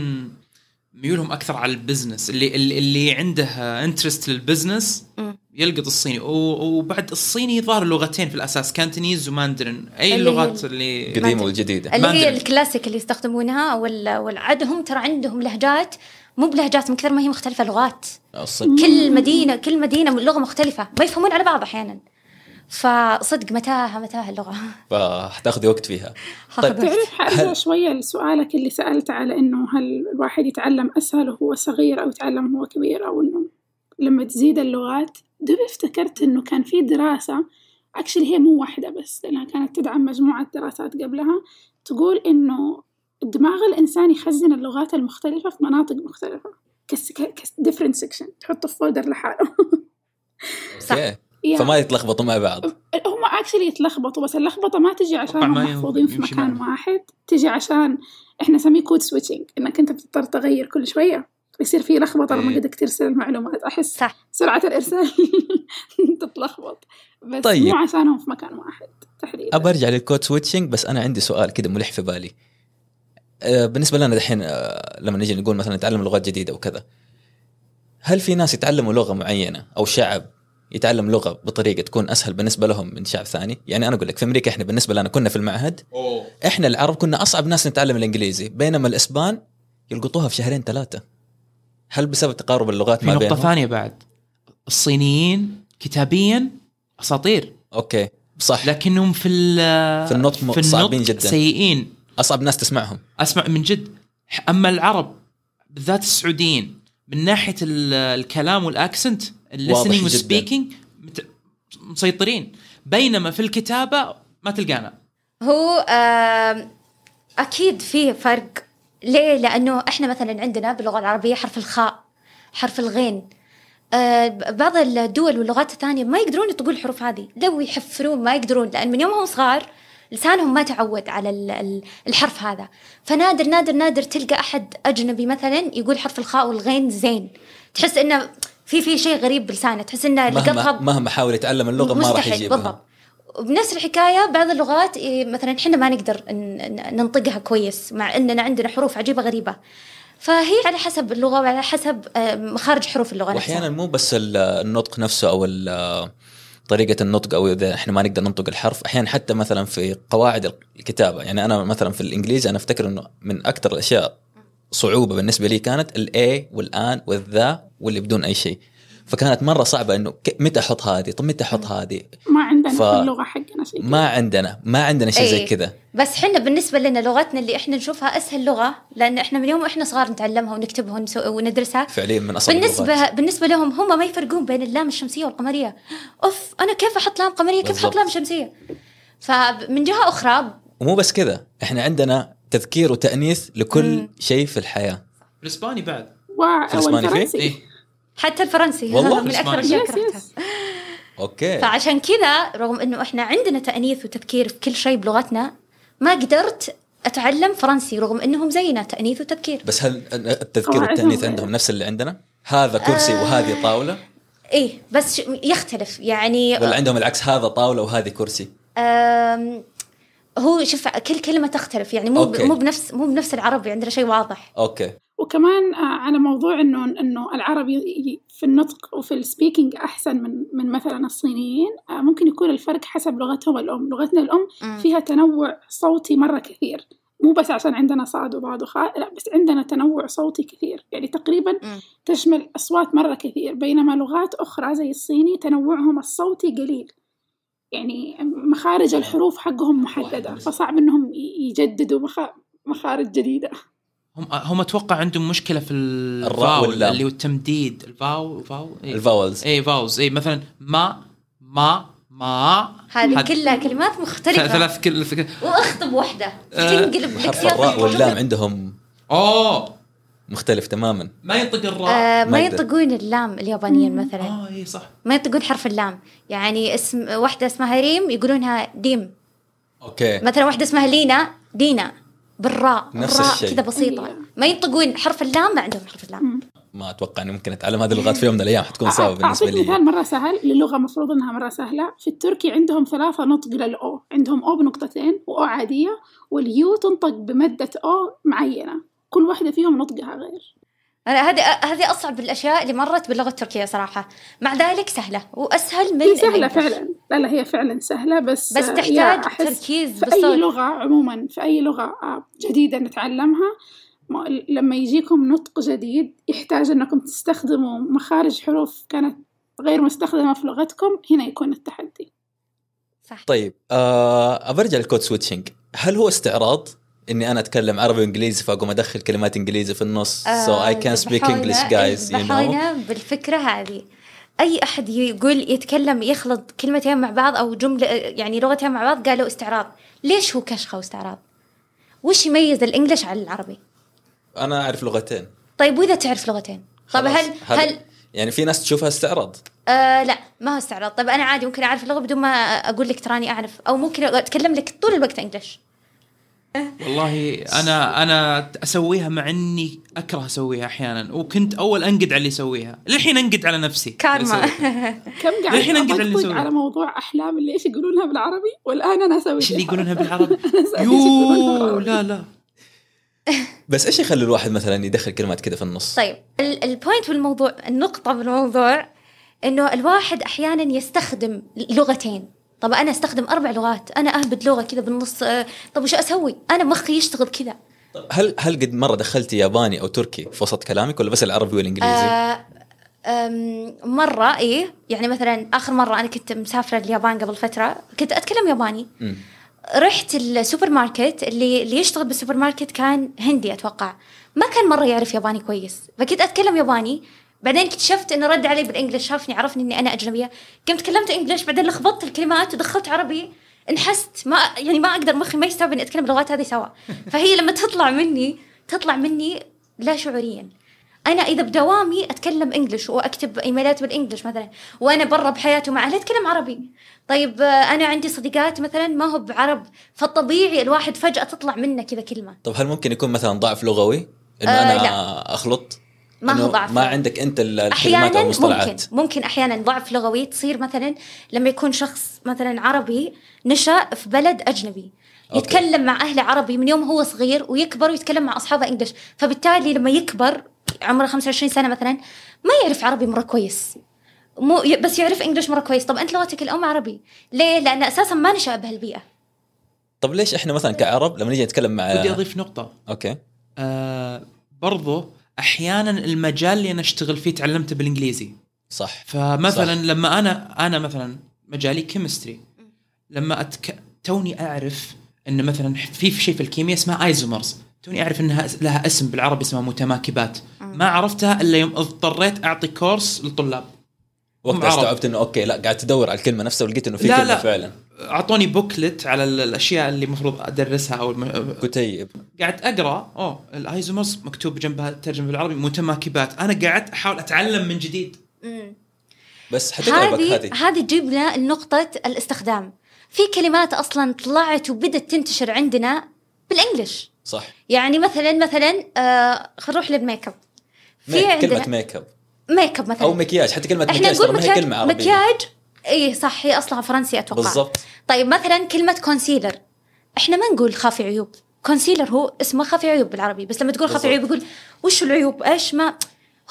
[SPEAKER 2] ميولهم اكثر على البزنس اللي اللي- اللي عنده انترست للبزنس
[SPEAKER 3] مم.
[SPEAKER 2] يلقط الصيني و- وبعد الصيني ظهر لغتين في الاساس كانتونيز وماندرين اي
[SPEAKER 3] اللي-
[SPEAKER 2] اللغات اللي
[SPEAKER 1] القديمه والجديده
[SPEAKER 3] اللي هي
[SPEAKER 2] ماندرين.
[SPEAKER 3] الكلاسيك اللي يستخدمونها وال- والعاد هم ترى عندهم لهجات مو بلهجات من كثر ما هي مختلفه لغات
[SPEAKER 1] الصين
[SPEAKER 3] كل مدينه كل مدينه لغه مختلفه ما يفهمون على بعض احيانا فصدق متاهه متاهه (laughs) اللغه
[SPEAKER 1] فحتاخذي وقت فيها
[SPEAKER 3] (laughs) هاخذ
[SPEAKER 1] طيب.
[SPEAKER 3] وقت.
[SPEAKER 4] تعرف حارجع شوية لسؤالك اللي سألت على إنه هل الواحد يتعلم أسهل وهو صغير أو يتعلم وهو كبير أو إنه لما تزيد اللغات دوبي افتكرت إنه كان في دراسة اكشلي هي مو واحدة بس لأنها كانت تدعم مجموعة دراسات قبلها تقول إنه دماغ الإنسان يخزن اللغات المختلفة في مناطق مختلفة كس كس different section تحطه في فولدر لحاله (laughs)
[SPEAKER 3] صح.
[SPEAKER 1] اوكي
[SPEAKER 4] Yeah.
[SPEAKER 1] فما يتلخبطوا مع بعض
[SPEAKER 4] هم اكشلي يتلخبطوا بس اللخبطه ما تجي عشان
[SPEAKER 2] أتوقع
[SPEAKER 4] هم
[SPEAKER 2] ما يم-
[SPEAKER 4] محفوظين في
[SPEAKER 2] يمشي
[SPEAKER 4] مكان
[SPEAKER 2] معنا.
[SPEAKER 4] واحد تجي عشان احنا نسميه كود سويتشنج انك انت بتضطر تغير كل شويه يصير في لخبطه لما
[SPEAKER 2] إيه.
[SPEAKER 4] قدك ترسل المعلومات احس
[SPEAKER 3] صح.
[SPEAKER 4] سرعه الارسال (laughs) تتلخبط بس
[SPEAKER 1] طيب.
[SPEAKER 4] مو عشانهم في مكان واحد تحديدا
[SPEAKER 1] ابى ارجع للكود سويتشنج بس انا عندي سؤال كذا ملح في بالي آه، بالنسبه لنا دحين آه، لما نجي نقول مثلا نتعلم لغات جديده وكذا هل في ناس يتعلموا لغه معينه او شعب يتعلم لغه بطريقه تكون اسهل بالنسبه لهم من شعب ثاني يعني انا اقول لك في امريكا احنا بالنسبه لنا كنا في المعهد احنا العرب كنا اصعب ناس نتعلم الانجليزي بينما الاسبان يلقطوها في شهرين ثلاثه هل بسبب تقارب اللغات
[SPEAKER 2] في
[SPEAKER 1] ما
[SPEAKER 2] نقطه
[SPEAKER 1] بينهم
[SPEAKER 2] ثانيه بعد الصينيين كتابيا اساطير
[SPEAKER 1] اوكي صح
[SPEAKER 2] لكنهم في ال-
[SPEAKER 1] في النطق م-
[SPEAKER 2] في
[SPEAKER 1] صعبين
[SPEAKER 2] النطق
[SPEAKER 1] جداً.
[SPEAKER 2] سيئين
[SPEAKER 1] اصعب ناس تسمعهم
[SPEAKER 2] اسمع من جد اما العرب بالذات السعوديين من ناحيه ال- الكلام والاكسنت الليسننج
[SPEAKER 1] واضح جداً.
[SPEAKER 2] والسبيكينج مسيطرين بينما في الكتابه ما تلقانا
[SPEAKER 3] هو آم، أكيد فيه فرق ليه؟ لأنه إحنا مثلا عندنا باللغة العربية حرف الخاء حرف الغين آه، ب- بعض الدول واللغات الثانية ما يقدرون يطقون الحروف هذه لو يحفرون ما يقدرون لأن من يومهم صغار لسانهم ما تعود على ال- ال- الحرف هذا فنادر نادر نادر تلقى احد اجنبي مثلا يقول حرف الخاء والغين زين تحس انه في في شيء غريب بلسانه تحس انه
[SPEAKER 1] مهما
[SPEAKER 3] القطغب
[SPEAKER 1] مهما حاول يتعلم اللغه ما راح
[SPEAKER 3] مستحيل،
[SPEAKER 1] يجيبها
[SPEAKER 3] بالضبط وبنفس الحكاية بعض اللغات إيه، مثلا احنا ما نقدر ن- ن- ننطقها كويس مع اننا عندنا حروف عجيبة غريبة فهي على حسب اللغة وعلى حسب آه، مخارج حروف اللغة
[SPEAKER 1] واحيانا
[SPEAKER 3] نفسها
[SPEAKER 1] مو بس ال- النطق نفسه او ال- طريقة النطق او اذا احنا ما نقدر ننطق الحرف، احيانا حتى مثلا في قواعد الكتابة، يعني انا مثلا في الانجليزي انا افتكر انه من اكثر الاشياء صعوبة بالنسبة لي كانت الاي والان والذا واللي بدون اي شيء. فكانت مرة صعبة انه ك- متى احط هذه؟ طب متى احط هذه؟
[SPEAKER 4] ما عندنا
[SPEAKER 1] ف-
[SPEAKER 4] في اللغه حقنا شيء
[SPEAKER 1] ما عندنا ما عندنا شيء زي
[SPEAKER 3] إيه.
[SPEAKER 1] كذا.
[SPEAKER 3] بس حنا بالنسبة لنا لغتنا اللي احنا نشوفها اسهل لغة لان احنا من يوم احنا صغار نتعلمها ونكتبها ونسو- وندرسها
[SPEAKER 1] فعليا من اصعب اللغات.
[SPEAKER 3] بالنسبة بالنسبة لهم هم ما يفرقون بين اللام الشمسية والقمرية. اوف انا كيف احط لام قمرية كيف
[SPEAKER 1] بالضبط.
[SPEAKER 3] احط لام شمسية؟ فمن جهة اخرى
[SPEAKER 1] ومو بس كذا احنا عندنا تذكير وتأنيث لكل
[SPEAKER 3] مم.
[SPEAKER 1] شيء في الحياة
[SPEAKER 2] الاسباني بعد
[SPEAKER 4] و-
[SPEAKER 1] في الإسباني فيه؟
[SPEAKER 4] والفرنسي
[SPEAKER 2] ايه
[SPEAKER 3] حتى الفرنسي
[SPEAKER 1] والله؟
[SPEAKER 3] (laughs) من اكثر
[SPEAKER 2] الإسباني.
[SPEAKER 3] الاشياء
[SPEAKER 4] يس
[SPEAKER 3] كرهتها.
[SPEAKER 4] يس
[SPEAKER 1] اوكي
[SPEAKER 3] فعشان كذا رغم انه احنا عندنا تانيث وتذكير في كل شيء بلغتنا ما قدرت اتعلم فرنسي رغم انهم زينا تانيث وتذكير
[SPEAKER 1] بس هل التذكير
[SPEAKER 4] قواعدهم
[SPEAKER 1] والتأنيث
[SPEAKER 4] غير.
[SPEAKER 1] عندهم نفس اللي عندنا؟ هذا كرسي
[SPEAKER 3] آه.
[SPEAKER 1] وهذه طاولة
[SPEAKER 3] ايه بس ش- يختلف يعني
[SPEAKER 1] ولا عندهم العكس هذا طاولة وهذه كرسي
[SPEAKER 3] آم، هو شوف كل كلمه تختلف يعني مو ب-
[SPEAKER 1] أوكي.
[SPEAKER 3] مو بنفس مو بنفس العربي عندنا شيء واضح
[SPEAKER 1] اوكي
[SPEAKER 4] وكمان آه، على موضوع انه انه العربي ي- في النطق وفي السبيكينج احسن من من مثلا الصينيين آه، ممكن يكون الفرق حسب لغتهم الام لغتنا الام فيها تنوع صوتي مرة كثير مو بس عشان عندنا صاد وضاد وخاء لا بس عندنا تنوع صوتي كثير يعني تقريبا
[SPEAKER 3] مم.
[SPEAKER 4] تشمل أصوات مرة كثير بينما لغات أخرى زي الصيني تنوعهم الصوتي قليل يعني مخارج الحروف حقهم محددة فصعب إنهم ي- يجددوا مخا- مخارج جديدة
[SPEAKER 2] هم هم اتوقع عندهم مشكله في
[SPEAKER 1] الراء
[SPEAKER 2] الفاول
[SPEAKER 1] واللام.
[SPEAKER 2] اللي هو التمديد الفاو فاو إيه.
[SPEAKER 1] الفاولز
[SPEAKER 2] اي فاوز اي مثلا ما ما ما
[SPEAKER 3] هذه
[SPEAKER 2] هذا-
[SPEAKER 3] كلها كلمات
[SPEAKER 2] ثل-
[SPEAKER 3] مختلفه
[SPEAKER 2] ثلاث كل فكر
[SPEAKER 3] واخطب واحده
[SPEAKER 2] آه،
[SPEAKER 3] تنقلب لك
[SPEAKER 1] وحرف
[SPEAKER 3] سياق
[SPEAKER 1] الراء
[SPEAKER 3] الجملة.
[SPEAKER 1] واللام عندهم
[SPEAKER 2] اوه
[SPEAKER 1] مختلف تماما
[SPEAKER 2] ما ينطق الراء
[SPEAKER 3] آه،
[SPEAKER 1] ما
[SPEAKER 3] ما
[SPEAKER 1] يقدر.
[SPEAKER 3] ينطقون اللام اليابانيين
[SPEAKER 4] مم.
[SPEAKER 3] مثلا
[SPEAKER 2] اه اي صح
[SPEAKER 3] ما ينطقون حرف اللام يعني اسم واحدة اسمها ريم يقولونها ديم
[SPEAKER 1] اوكي
[SPEAKER 3] مثلا واحدة اسمها لينا دينا بالراء
[SPEAKER 1] نفس
[SPEAKER 3] الراء
[SPEAKER 1] الشيء.
[SPEAKER 3] كذا بسيطة
[SPEAKER 4] أيوة.
[SPEAKER 3] ما ينطقون حرف اللام ما عندهم حرف اللام
[SPEAKER 1] ما اتوقع اني ممكن اتعلم هذه اللغات في يوم من الايام حتكون صعبة
[SPEAKER 4] أع-
[SPEAKER 1] بالنسبة
[SPEAKER 4] أعطيك
[SPEAKER 1] لي
[SPEAKER 4] مثال مرة سهل للغة مفروض إنها مرة سهلة في التركي عندهم ثلاثة نطق للأو عندهم أو بنقطتين وأو عادية واليو تنطق بمدة أو معينة كل واحدة فيهم نطقها غير
[SPEAKER 3] أنا هذه هذه أصعب الأشياء اللي مرت باللغة التركية صراحة مع ذلك سهلة وأسهل من
[SPEAKER 4] هي سهلة
[SPEAKER 3] الإنجليش.
[SPEAKER 4] فعلا لا لا هي فعلا سهلة بس
[SPEAKER 3] بس
[SPEAKER 4] آه،
[SPEAKER 3] تحتاج
[SPEAKER 4] يا أحس
[SPEAKER 3] تركيز
[SPEAKER 4] في أي
[SPEAKER 3] بالصوت
[SPEAKER 4] لغة عموما في أي لغة آه، جديدة نتعلمها ما- لما يجيكم نطق جديد يحتاج أنكم تستخدموا مخارج حروف كانت غير مستخدمة في لغتكم هنا يكون التحدي
[SPEAKER 3] صح
[SPEAKER 1] طيب آه برجع للكود سويتشنج هل هو استعراض اني انا اتكلم عربي وانجليزي فاقوم ادخل كلمات انجليزي في النص
[SPEAKER 3] آه،
[SPEAKER 1] سو اي كان سبيك انجلش
[SPEAKER 3] إيه،
[SPEAKER 1] جايز يو نو
[SPEAKER 3] بحاولنا بالفكرة هذه أي أحد يقول يتكلم يخلط كلمتين مع بعض أو جملة يعني لغتين مع بعض قالوا استعراض ليش هو كشخة واستعراض وش يميز الإنجليش عن العربي
[SPEAKER 1] انا اعرف لغتين
[SPEAKER 3] طيب وإذا تعرف لغتين طب
[SPEAKER 1] خلاص.
[SPEAKER 3] هل هل
[SPEAKER 1] يعني في ناس تشوفها استعراض
[SPEAKER 3] آه لا ما هو استعراض طيب أنا عادي ممكن أعرف اللغة بدون ما أقول لك تراني أعرف أو ممكن أتكلم لك طول الوقت إنجليش
[SPEAKER 2] والله انا انا اسويها مع اني اكره اسويها احيانا وكنت اول انقد على اللي يسويها للحين انقد على نفسي
[SPEAKER 3] كارما
[SPEAKER 2] اللي يسويها.
[SPEAKER 4] كم قاعد
[SPEAKER 2] للحين أنقل على اللي
[SPEAKER 4] أطقطق
[SPEAKER 2] يسويه.
[SPEAKER 4] على موضوع أحلام اللي إيش يقولونها بالعربي والآن أنا أسوي
[SPEAKER 2] ايش اللي
[SPEAKER 4] كذا.
[SPEAKER 2] يقولونها
[SPEAKER 4] (laughs)
[SPEAKER 2] بالعربي
[SPEAKER 4] أسوي إيش يقولونها
[SPEAKER 2] يوه
[SPEAKER 4] بالعربي.
[SPEAKER 2] لا لا
[SPEAKER 1] بس ايش يخلي الواحد مثلا يدخل كلمات كذا في النص؟
[SPEAKER 3] طيب ال- البوينت بالموضوع النقطة بالموضوع انه الواحد احيانا يستخدم لغتين طب انا استخدم اربع لغات انا اهبد لغة كذا بالنص آه، طب وش اسوي انا مخي يشتغل كذا
[SPEAKER 1] طيب. هل هل قد مره دخلتي ياباني او تركي في وسط كلامك ولا بس العربي والانجليزي؟ آه.
[SPEAKER 3] آه، أم، مرة إيه يعني مثلا آخر مرة أنا كنت مسافرة اليابان قبل فترة كنت أتكلم ياباني
[SPEAKER 1] مم.
[SPEAKER 3] رحت السوبر ماركت اللي اللي يشتغل بالسوبر ماركت كان هندي أتوقع ما كان مرة يعرف ياباني كويس فكنت أتكلم ياباني بعدين اكتشفت انه رد علي بالانجلش شافني عرفني اني انا اجنبيه قمت كلمت انجلش بعدين لخبطت الكلمات ودخلت عربي انحست ما يعني ما اقدر مخي ما يستوعب اني اتكلم اللغات هذه سوا فهي لما تطلع مني تطلع مني لا شعوريا انا اذا بدوامي اتكلم انجلش واكتب ايميلات بالانجلش مثلا وانا برا بحياتي مع اهلي اتكلم عربي طيب آه، انا عندي صديقات مثلا ما هو بعرب فالطبيعي الواحد فجاه تطلع منه كذا كلمه
[SPEAKER 1] طب هل ممكن يكون مثلا ضعف لغوي انه آه
[SPEAKER 3] آه،
[SPEAKER 1] انا
[SPEAKER 3] لا.
[SPEAKER 1] اخلط
[SPEAKER 3] ما هو
[SPEAKER 1] إنه
[SPEAKER 3] ضعف
[SPEAKER 1] ما عندك انت ال- الكلمات او
[SPEAKER 3] احيانا ممكن
[SPEAKER 1] المصطلحات
[SPEAKER 3] ممكن احيانا ضعف لغوي تصير مثلا لما يكون شخص مثلا عربي نشا في بلد اجنبي
[SPEAKER 1] أوكي.
[SPEAKER 3] يتكلم مع اهله عربي من يوم هو صغير ويكبر ويتكلم مع اصحابه انجلش فبالتالي لما يكبر عمره 25 سنه مثلا ما يعرف عربي مره كويس مو ي- بس يعرف انجلش مره كويس طب انت لغتك الام عربي ليه لان اساسا ما نشا بهالبيئه
[SPEAKER 1] طب ليش احنا مثلا كعرب لما نيجي نتكلم مع
[SPEAKER 2] ودي اضيف نقطه
[SPEAKER 1] اوكي
[SPEAKER 2] آه برضو احيانا المجال اللي انا اشتغل فيه تعلمته بالانجليزي
[SPEAKER 1] صح
[SPEAKER 2] فمثلا
[SPEAKER 1] صح.
[SPEAKER 2] صح. لما انا انا مثلا مجالي كيمستري لما أتك... توني اعرف ان مثلا في في شيء في الكيمياء اسمها ايزومرز توني اعرف انها اس- لها اسم بالعربي اسمها متماكبات ما عرفتها الا يوم اضطريت اعطي كورس للطلاب
[SPEAKER 1] وقتها
[SPEAKER 2] عرب.
[SPEAKER 1] استوعبت انه اوكي لا قاعد تدور على الكلمه نفسها ولقيت انه في
[SPEAKER 2] لا،
[SPEAKER 1] كلمه
[SPEAKER 2] لا.
[SPEAKER 1] فعلا
[SPEAKER 2] اعطوني بوكلت على ال- الاشياء اللي المفروض ادرسها او الم...
[SPEAKER 1] كتيب
[SPEAKER 2] قعدت اقرا اوه الايزومرز مكتوب جنبها الترجمه بالعربي متماكبات انا قعدت احاول اتعلم من جديد
[SPEAKER 1] بس حتى
[SPEAKER 3] هذه
[SPEAKER 1] هذه
[SPEAKER 3] هذه تجيب لنا نقطة الاستخدام في كلمات أصلا طلعت وبدت تنتشر عندنا بالإنجلش
[SPEAKER 1] صح
[SPEAKER 3] يعني مثلا مثلا آه خلينا نروح للميك اب في
[SPEAKER 1] ميك. كلمه
[SPEAKER 3] عندنا
[SPEAKER 1] ميك اب
[SPEAKER 3] ميك اب مثلا
[SPEAKER 1] او مكياج حتى كلمه
[SPEAKER 3] احنا
[SPEAKER 1] مكياج
[SPEAKER 3] نقول
[SPEAKER 1] ترى ما هي
[SPEAKER 3] مكياج
[SPEAKER 1] كلمه عربيه
[SPEAKER 3] مكياج اي صح هي أصلها فرنسي أتوقع
[SPEAKER 1] بالضبط
[SPEAKER 3] طيب مثلا كلمة كونسيلر احنا ما نقول خافي عيوب كونسيلر هو اسمه خافي عيوب بالعربي بس لما تقول خافي عيوب
[SPEAKER 1] بالضبط.
[SPEAKER 3] يقول وش العيوب ايش ما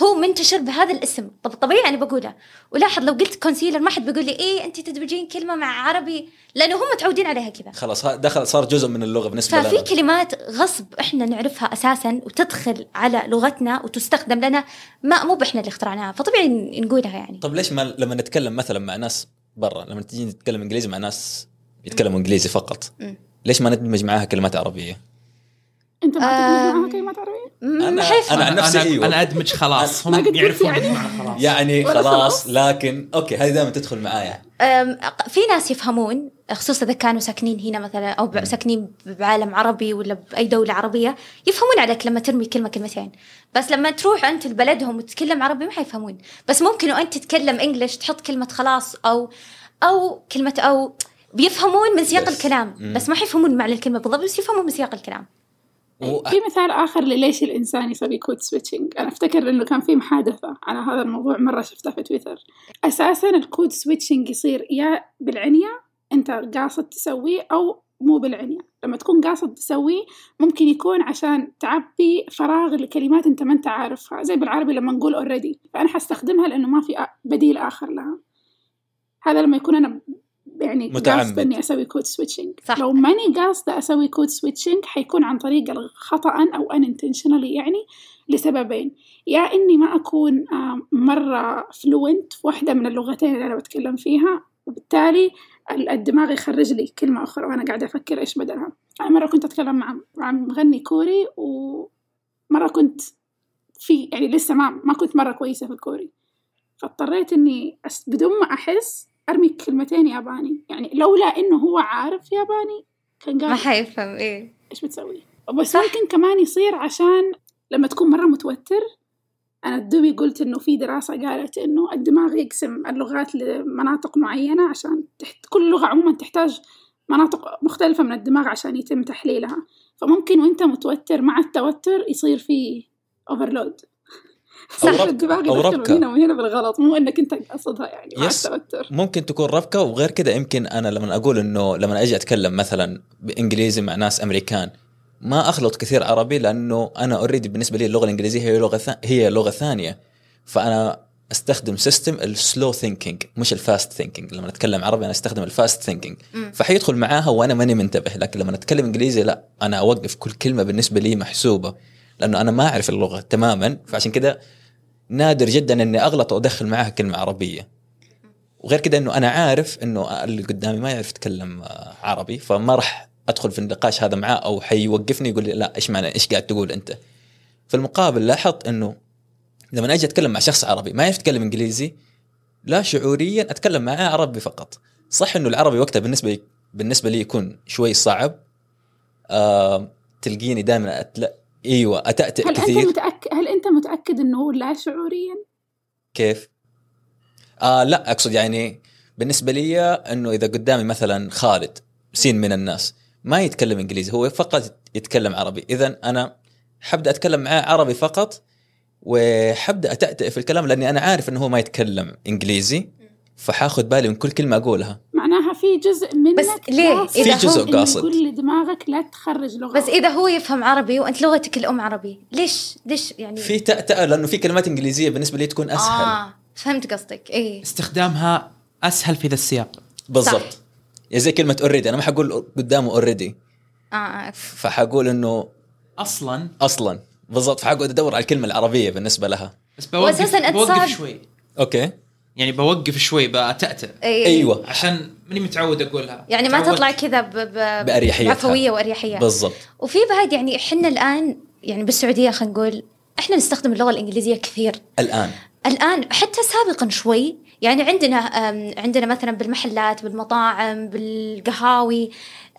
[SPEAKER 3] هو منتشر بهذا الاسم طب طبيعي انا بقوله ولاحظ لو قلت كونسيلر ما حد بيقول لي ايه انت تدمجين كلمه مع عربي لانه هم متعودين عليها كذا
[SPEAKER 1] خلاص ها- دخل صار جزء من اللغه بالنسبه لنا
[SPEAKER 3] ففي كلمات غصب احنا نعرفها اساسا وتدخل على لغتنا وتستخدم لنا ما مو احنا اللي اخترعناها فطبيعي ن- نقولها يعني
[SPEAKER 1] طب طيب، ليش ما لما نتكلم مثلا مع ناس برا لما تجي نتكلم انجليزي مع ناس يتكلموا انجليزي فقط
[SPEAKER 3] مم.
[SPEAKER 1] ليش ما ندمج معاها كلمات عربيه؟
[SPEAKER 4] انت ما
[SPEAKER 3] أم.
[SPEAKER 4] تدمج معها كلمات عربيه
[SPEAKER 3] ما
[SPEAKER 1] طيب، أنا-
[SPEAKER 3] حيفهم.
[SPEAKER 1] أنا عن نفسي
[SPEAKER 2] انا,
[SPEAKER 1] أيوة.
[SPEAKER 2] أنا ادمج خلاص
[SPEAKER 4] ما
[SPEAKER 2] هم
[SPEAKER 4] قد
[SPEAKER 2] يعرفون
[SPEAKER 4] قلت يعني.
[SPEAKER 2] المعنى خلاص
[SPEAKER 1] يعني
[SPEAKER 4] ولا
[SPEAKER 1] خلاص
[SPEAKER 4] خلاص.
[SPEAKER 1] لكن اوكي هذه دائما تدخل معايا
[SPEAKER 3] أم، أق- في ناس يفهمون خصوصا اذا كانوا ساكنين هنا مثلا او ب- ساكنين بعالم عربي ولا باي دوله عربيه يفهمون عليك لما ترمي كلمه كلمتين بس لما تروح انت لبلدهم وتتكلم عربي ما حيفهمون بس ممكن وانت تتكلم انجلش تحط كلمه خلاص او او كلمه او بيفهمون من سياق
[SPEAKER 1] بس.
[SPEAKER 3] الكلام
[SPEAKER 1] مم.
[SPEAKER 3] بس ما حيفهمون معنى الكلمه بالضبط بس يفهمون من سياق الكلام
[SPEAKER 1] و...
[SPEAKER 4] إيه، في مثال اخر لليش الانسان يسوي كود سويتشنج انا افتكر انه كان في محادثه على هذا الموضوع مره شفتها في تويتر اساسا الكود سويتشنج يصير يا بالعنيه انت قاصد تسويه او مو بالعنيه لما تكون قاصد تسويه ممكن يكون عشان تعبي فراغ لكلمات انت ما انت عارفها زي بالعربي لما نقول اوريدي فانا حستخدمها لانه ما في آ- بديل اخر لها هذا لما يكون انا ب- يعني
[SPEAKER 1] متعمد.
[SPEAKER 4] قاصد اني اسوي كود سويتشنج
[SPEAKER 3] صح.
[SPEAKER 4] لو ماني قاصده اسوي كود سويتشنج حيكون عن طريق خطا او ان يعني لسببين يا اني ما اكون آم، مره فلوينت في واحده من اللغتين اللي انا بتكلم فيها وبالتالي ال- الدماغ يخرج لي كلمه اخرى وانا قاعده افكر ايش بدلها انا مره كنت اتكلم مع مع مغني كوري ومره كنت في يعني لسه ما ما كنت مره كويسه في الكوري فاضطريت اني أس- بدون ما احس ارمي كلمتين ياباني يعني لولا انه هو عارف ياباني كان قال
[SPEAKER 3] ما حيفهم ايه
[SPEAKER 4] ايش بتسوي بس ممكن كمان يصير عشان لما تكون مره متوتر انا دوبي قلت انه في دراسه قالت انه الدماغ يقسم اللغات لمناطق معينه عشان تحت كل لغه عموما تحتاج مناطق مختلفه من الدماغ عشان يتم تحليلها فممكن وانت متوتر مع التوتر يصير في اوفرلود
[SPEAKER 1] ربكة-
[SPEAKER 4] الدماغ
[SPEAKER 1] أو
[SPEAKER 4] يدخل
[SPEAKER 1] ربكة.
[SPEAKER 4] من هنا وهنا بالغلط مو انك انت قصدها يعني مع
[SPEAKER 1] يس.
[SPEAKER 4] التوتر
[SPEAKER 1] ممكن تكون ربكه وغير كذا يمكن انا لما اقول انه لما اجي اتكلم مثلا بانجليزي مع ناس امريكان ما اخلط كثير عربي لانه انا اوريدي بالنسبه لي اللغه الانجليزيه هي لغه ثا- هي لغه ثانيه فانا استخدم سيستم السلو ثينكينج مش الفاست ثينكينج لما اتكلم عربي انا استخدم الفاست ثينكينج
[SPEAKER 3] مم.
[SPEAKER 1] فحيدخل معاها وانا ماني منتبه لكن لما اتكلم انجليزي لا انا اوقف كل كلمه بالنسبه لي محسوبه لانه انا ما اعرف اللغه تماما فعشان كذا نادر جدا اني اغلط وادخل معاها كلمه عربيه وغير كده انه انا عارف انه اللي قدامي ما يعرف يتكلم آه، عربي فما راح ادخل في النقاش هذا معاه او حيوقفني يقول لي لا ايش معنى ايش قاعد تقول انت في المقابل لاحظت انه لما اجي اتكلم مع شخص عربي ما يعرف يتكلم انجليزي لا شعوريا اتكلم معاه عربي فقط صح انه العربي وقتها بالنسبه بالنسبه لي يكون شوي صعب آه تلقيني دائما أتل... ايوه اتاتئ
[SPEAKER 4] هل انت
[SPEAKER 1] كثير
[SPEAKER 4] متاكد هل انت متاكد انه لا شعوريا
[SPEAKER 1] كيف؟ آه لا اقصد يعني بالنسبه لي انه اذا قدامي مثلا خالد سين من الناس ما يتكلم انجليزي هو فقط يتكلم عربي اذا انا حبدا اتكلم معاه عربي فقط وحبدا اتاتئ في الكلام لاني انا عارف انه هو ما يتكلم انجليزي فحاخذ بالي من كل كلمه اقولها
[SPEAKER 4] معناها في جزء منك
[SPEAKER 3] بس ليه؟
[SPEAKER 4] قاصد
[SPEAKER 3] إذا
[SPEAKER 1] في جزء
[SPEAKER 4] إنه
[SPEAKER 1] قاصد.
[SPEAKER 4] كل دماغك لا تخرج لغه
[SPEAKER 3] بس اذا هو يفهم عربي وانت لغتك الام عربي ليش ليش يعني
[SPEAKER 1] في تأتأة لانه في كلمات انجليزيه بالنسبه لي تكون اسهل آه.
[SPEAKER 3] اه فهمت قصدك إيه. اي
[SPEAKER 2] استخدامها اسهل في ذا السياق
[SPEAKER 1] بالضبط يعني زي كلمه اوريدي انا ما حقول قدامه اوريدي
[SPEAKER 3] اه آه.
[SPEAKER 1] فحقول انه
[SPEAKER 2] اصلا
[SPEAKER 1] اصلا بالضبط فحقعد ادور على الكلمه العربيه بالنسبه لها
[SPEAKER 2] بس بوقف,
[SPEAKER 3] وأساساً أتصاب-
[SPEAKER 2] بوقف شوي
[SPEAKER 1] اوكي
[SPEAKER 2] يعني بوقف شوي بتأتأ
[SPEAKER 3] اي
[SPEAKER 1] ايوه
[SPEAKER 2] عشان ماني متعود اقولها
[SPEAKER 3] يعني ما
[SPEAKER 2] تعودت.
[SPEAKER 3] تطلع كذا ب... ب...
[SPEAKER 1] بأريحيتها.
[SPEAKER 3] بعفويه واريحيه
[SPEAKER 1] بالضبط
[SPEAKER 3] وفي بعد يعني احنا الان يعني بالسعوديه خلينا نقول احنا نستخدم اللغه الانجليزيه كثير
[SPEAKER 1] الان
[SPEAKER 3] الان حتى سابقا شوي يعني عندنا أم، عندنا مثلا بالمحلات بالمطاعم بالقهاوي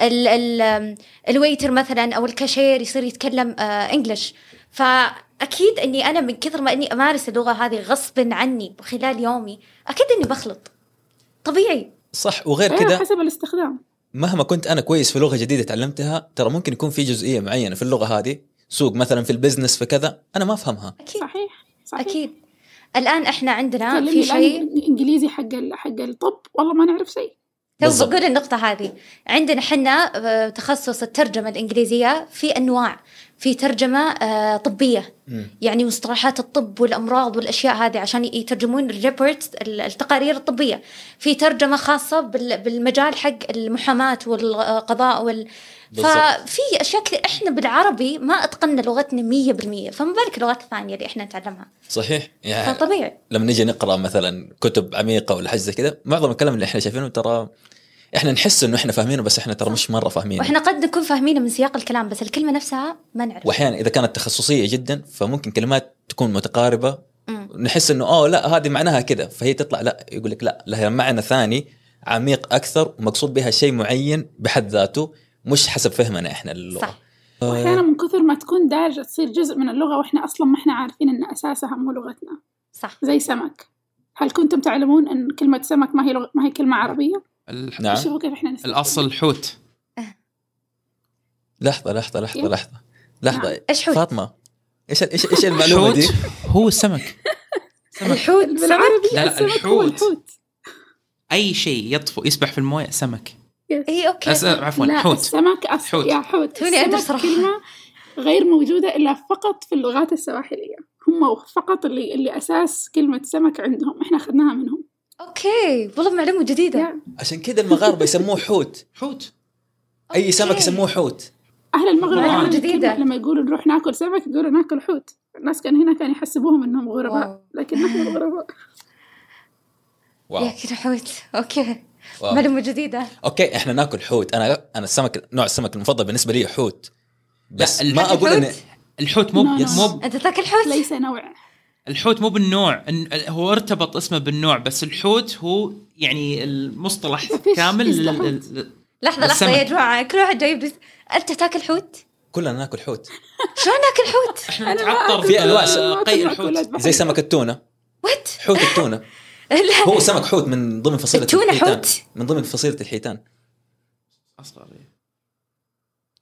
[SPEAKER 3] ال ال أم، الويتر مثلا او الكاشير يصير يتكلم آه، انجلش فاكيد اني انا من كثر ما اني امارس اللغه هذه غصبا عني خلال يومي اكيد اني بخلط طبيعي
[SPEAKER 1] صح وغير
[SPEAKER 4] أيوة،
[SPEAKER 1] كذا
[SPEAKER 4] حسب الاستخدام
[SPEAKER 1] مهما كنت انا كويس في لغه جديده تعلمتها ترى ممكن يكون في جزئيه معينه في اللغه هذه سوق مثلا في البزنس في كذا انا ما افهمها
[SPEAKER 3] اكيد
[SPEAKER 4] صحيح صحيح
[SPEAKER 3] اكيد الان احنا عندنا
[SPEAKER 4] كلمني
[SPEAKER 3] آه، في
[SPEAKER 4] الآن
[SPEAKER 3] شيء
[SPEAKER 4] انجليزي حق ال- حق الطب والله ما نعرف شيء
[SPEAKER 3] تو
[SPEAKER 1] بالضبط.
[SPEAKER 3] بقول النقطة هذه عندنا حنا آه، تخصص الترجمة الإنجليزية في أنواع في ترجمة آه، طبية
[SPEAKER 1] مم.
[SPEAKER 3] يعني مصطلحات الطب والأمراض والأشياء هذه عشان يترجمون الريبورت التقارير الطبية في ترجمة خاصة بال- بالمجال حق المحاماة والقضاء وال
[SPEAKER 1] بالضبط.
[SPEAKER 3] ففي أشياء كثير إحنا بالعربي ما أتقنا لغتنا مية بالمية فما بالك اللغات الثانية اللي إحنا نتعلمها
[SPEAKER 1] صحيح يعني
[SPEAKER 3] فطبيعي
[SPEAKER 1] لما نجي نقرا مثلا كتب عميقه ولا حاجه زي كذا معظم الكلام اللي احنا شايفينه ترى احنا نحس انه احنا فاهمينه بس احنا ترى مش مره فاهمينه
[SPEAKER 3] وإحنا قد نكون فاهمينه من سياق الكلام بس الكلمة نفسها ما نعرف
[SPEAKER 1] واحيانا اذا كانت تخصصيه جدا فممكن كلمات تكون متقاربه
[SPEAKER 3] مم.
[SPEAKER 1] نحس انه اوه لا هذه معناها كذا فهي تطلع لا يقول لك لا لها معنى ثاني عميق اكثر ومقصود بها شيء معين بحد ذاته مش حسب فهمنا آه، احنا للغه
[SPEAKER 3] صح.
[SPEAKER 2] آه.
[SPEAKER 4] واحيانا من كثر ما تكون دارجه تصير جزء من اللغه واحنا اصلا ما احنا عارفين ان اساسها مو لغتنا
[SPEAKER 3] صح
[SPEAKER 4] زي سمك هل كنتم تعلمون ان كلمه سمك ما هي لغ... ما هي كلمه
[SPEAKER 2] نعم.
[SPEAKER 4] عربيه
[SPEAKER 2] الح-
[SPEAKER 1] نعم
[SPEAKER 4] شوفوا كيف احنا نستخدمها.
[SPEAKER 2] الاصل حوت
[SPEAKER 1] لحظه لحظه لحظه
[SPEAKER 4] يلا.
[SPEAKER 1] لحظه لحظه
[SPEAKER 3] إيش نعم، حوت؟
[SPEAKER 1] فاطمه ايش ايش ايش المعلومه
[SPEAKER 2] حوت
[SPEAKER 1] دي؟
[SPEAKER 2] هو السمك سمك
[SPEAKER 3] الحوت
[SPEAKER 4] بالعربي
[SPEAKER 2] لا، لا،
[SPEAKER 4] السمك هو
[SPEAKER 2] الحوت.
[SPEAKER 4] الحوت
[SPEAKER 2] اي شيء يطفو يسبح في المويه سمك
[SPEAKER 3] اي اوكي
[SPEAKER 2] أس... عفوا
[SPEAKER 4] لا
[SPEAKER 2] حوت
[SPEAKER 4] السمك أصل
[SPEAKER 2] حوت.
[SPEAKER 4] يا حوت
[SPEAKER 3] توني أدري
[SPEAKER 4] السمك
[SPEAKER 3] صراحة.
[SPEAKER 4] كلمة غير موجودة إلا فقط في اللغات السواحلية هم فقط اللي اللي أساس كلمة سمك عندهم إحنا أخذناها منهم
[SPEAKER 3] اوكي والله معلومه جديده
[SPEAKER 4] يا.
[SPEAKER 1] عشان كذا المغاربه يسموه حوت
[SPEAKER 2] حوت
[SPEAKER 1] اي سمك
[SPEAKER 3] أوكي.
[SPEAKER 1] يسموه حوت
[SPEAKER 4] أهل المغرب
[SPEAKER 2] معلومة
[SPEAKER 4] الآن
[SPEAKER 3] جديدة.
[SPEAKER 4] الكلمة لما يقولوا نروح ناكل سمك يقولوا ناكل حوت الناس كان هنا كانوا يحسبوهم إنهم غرباء
[SPEAKER 3] واو.
[SPEAKER 4] لكن نحن غرباء
[SPEAKER 1] واو
[SPEAKER 3] يا كذا حوت اوكي
[SPEAKER 1] واو.
[SPEAKER 3] معلومه جديده
[SPEAKER 1] اوكي احنا ناكل حوت انا انا السمك نوع السمك المفضل بالنسبه لي حوت بس
[SPEAKER 2] لا،
[SPEAKER 1] ما
[SPEAKER 2] الحوت-
[SPEAKER 1] اقول ان
[SPEAKER 2] الحوت مو
[SPEAKER 4] لا، لا.
[SPEAKER 2] مو
[SPEAKER 3] انت تاكل حوت
[SPEAKER 4] ليس نوع
[SPEAKER 2] الحوت مو بالنوع إن- هو ارتبط اسمه بالنوع بس الحوت هو يعني المصطلح
[SPEAKER 4] مفيش
[SPEAKER 2] كامل
[SPEAKER 4] اسمه
[SPEAKER 2] لل-
[SPEAKER 4] حوت.
[SPEAKER 2] لل-
[SPEAKER 3] لحظه لحظه
[SPEAKER 2] السمك.
[SPEAKER 3] يا جماعه كل واحد جايب بس انت تاكل حوت
[SPEAKER 1] كلنا ناكل حوت
[SPEAKER 3] شلون ناكل حوت
[SPEAKER 2] احنا نتعطر
[SPEAKER 1] في أنواع
[SPEAKER 2] آه، قي الحوت
[SPEAKER 1] زي سمك التونه
[SPEAKER 3] وات
[SPEAKER 1] حوت التونه
[SPEAKER 3] (laughs) لا
[SPEAKER 1] هو سمك حوت من ضمن فصيله
[SPEAKER 3] التونة
[SPEAKER 1] الحيتان
[SPEAKER 3] حوت؟
[SPEAKER 1] من ضمن فصيله الحيتان
[SPEAKER 2] اصغر إيه.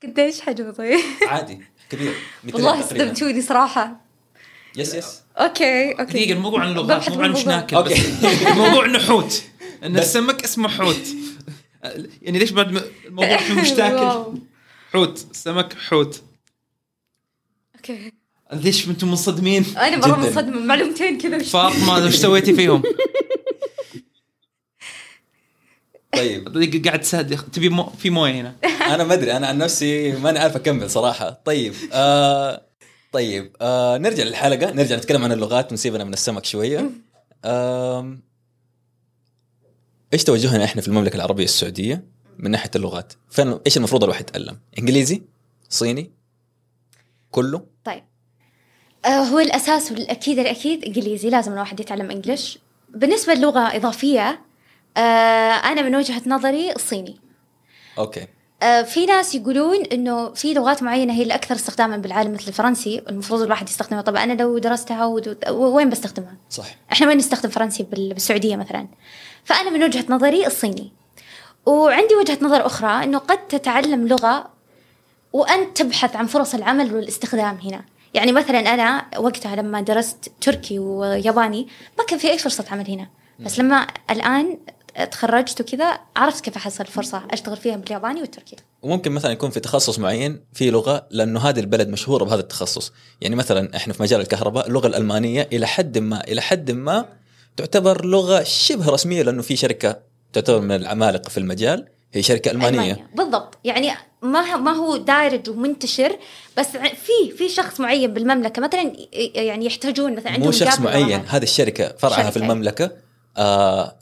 [SPEAKER 3] قديش حجمه طيب
[SPEAKER 1] عادي كبير مترين
[SPEAKER 3] والله
[SPEAKER 1] تقريباً.
[SPEAKER 3] صدمتوني صراحه
[SPEAKER 1] يس يس
[SPEAKER 3] اوكي
[SPEAKER 2] دقيقه
[SPEAKER 3] اوكي
[SPEAKER 2] الموضوع عن اللغات
[SPEAKER 3] ببحث
[SPEAKER 2] مو عن وش
[SPEAKER 3] بالموضوع.
[SPEAKER 2] ناكل بس
[SPEAKER 1] اوكي
[SPEAKER 2] (laughs) الموضوع انه حوت ان
[SPEAKER 1] بس-
[SPEAKER 2] السمك اسمه حوت يعني ليش بعد ما- الموضوع
[SPEAKER 3] (laughs)
[SPEAKER 2] إحنا مش تاكل
[SPEAKER 3] واو.
[SPEAKER 2] حوت سمك حوت
[SPEAKER 3] اوكي
[SPEAKER 2] ليش انتم منصدمين
[SPEAKER 3] انا مره
[SPEAKER 1] جداً.
[SPEAKER 3] منصدمه معلومتين كذا وش-
[SPEAKER 2] فاطمه وش سويتي فيهم (laughs)
[SPEAKER 1] طيب
[SPEAKER 2] دقيقة قاعد تسهد تبي مو... في مويه هنا
[SPEAKER 1] انا ما ادري انا عن نفسي ماني عارف اكمل صراحه طيب آه طيب آه نرجع للحلقه نرجع نتكلم عن اللغات ونسيبنا من السمك شويه آم، ايش توجهنا احنا في المملكه العربيه السعوديه من ناحيه اللغات؟ فين ايش المفروض الواحد يتعلم؟ انجليزي؟ صيني؟ كله؟
[SPEAKER 3] طيب آه، هو الأساس والأكيد الأكيد إنجليزي لازم الواحد يتعلم إنجليش بالنسبة للغة إضافية آه، أنا من وجهة نظري الصيني
[SPEAKER 1] اوكي
[SPEAKER 3] آه، في ناس يقولون انه في لغات معينه هي الاكثر استخداما بالعالم مثل الفرنسي المفروض الواحد يستخدمها طب انا لو درستها ود- وين بستخدمها
[SPEAKER 1] صح
[SPEAKER 3] احنا وين نستخدم فرنسي بال- بالسعوديه مثلا فانا من وجهه نظري الصيني وعندي وجهه نظر اخرى انه قد تتعلم لغه وانت تبحث عن فرص العمل والاستخدام هنا يعني مثلا انا وقتها لما درست تركي وياباني ما كان في اي فرصه عمل هنا بس لما الان تخرجت وكذا عرفت كيف احصل فرصه اشتغل فيها بالياباني والتركي
[SPEAKER 1] وممكن مثلا يكون في تخصص معين في لغه لانه هذه البلد مشهوره بهذا التخصص يعني مثلا احنا في مجال الكهرباء اللغه الالمانيه الى حد ما الى حد ما تعتبر لغه شبه رسميه لانه في شركه تعتبر من العمالقه في المجال هي شركه المانيه, ألمانية.
[SPEAKER 3] ألمانيا. بالضبط يعني ما ما هو دارج ومنتشر بس ع- في في شخص معين بالمملكه مثلا ي- يعني يحتاجون مثلا عندهم
[SPEAKER 1] مو شخص
[SPEAKER 3] قابل
[SPEAKER 1] معين
[SPEAKER 3] لغات.
[SPEAKER 1] هذه الشركه فرعها
[SPEAKER 3] شركة.
[SPEAKER 1] في المملكه آه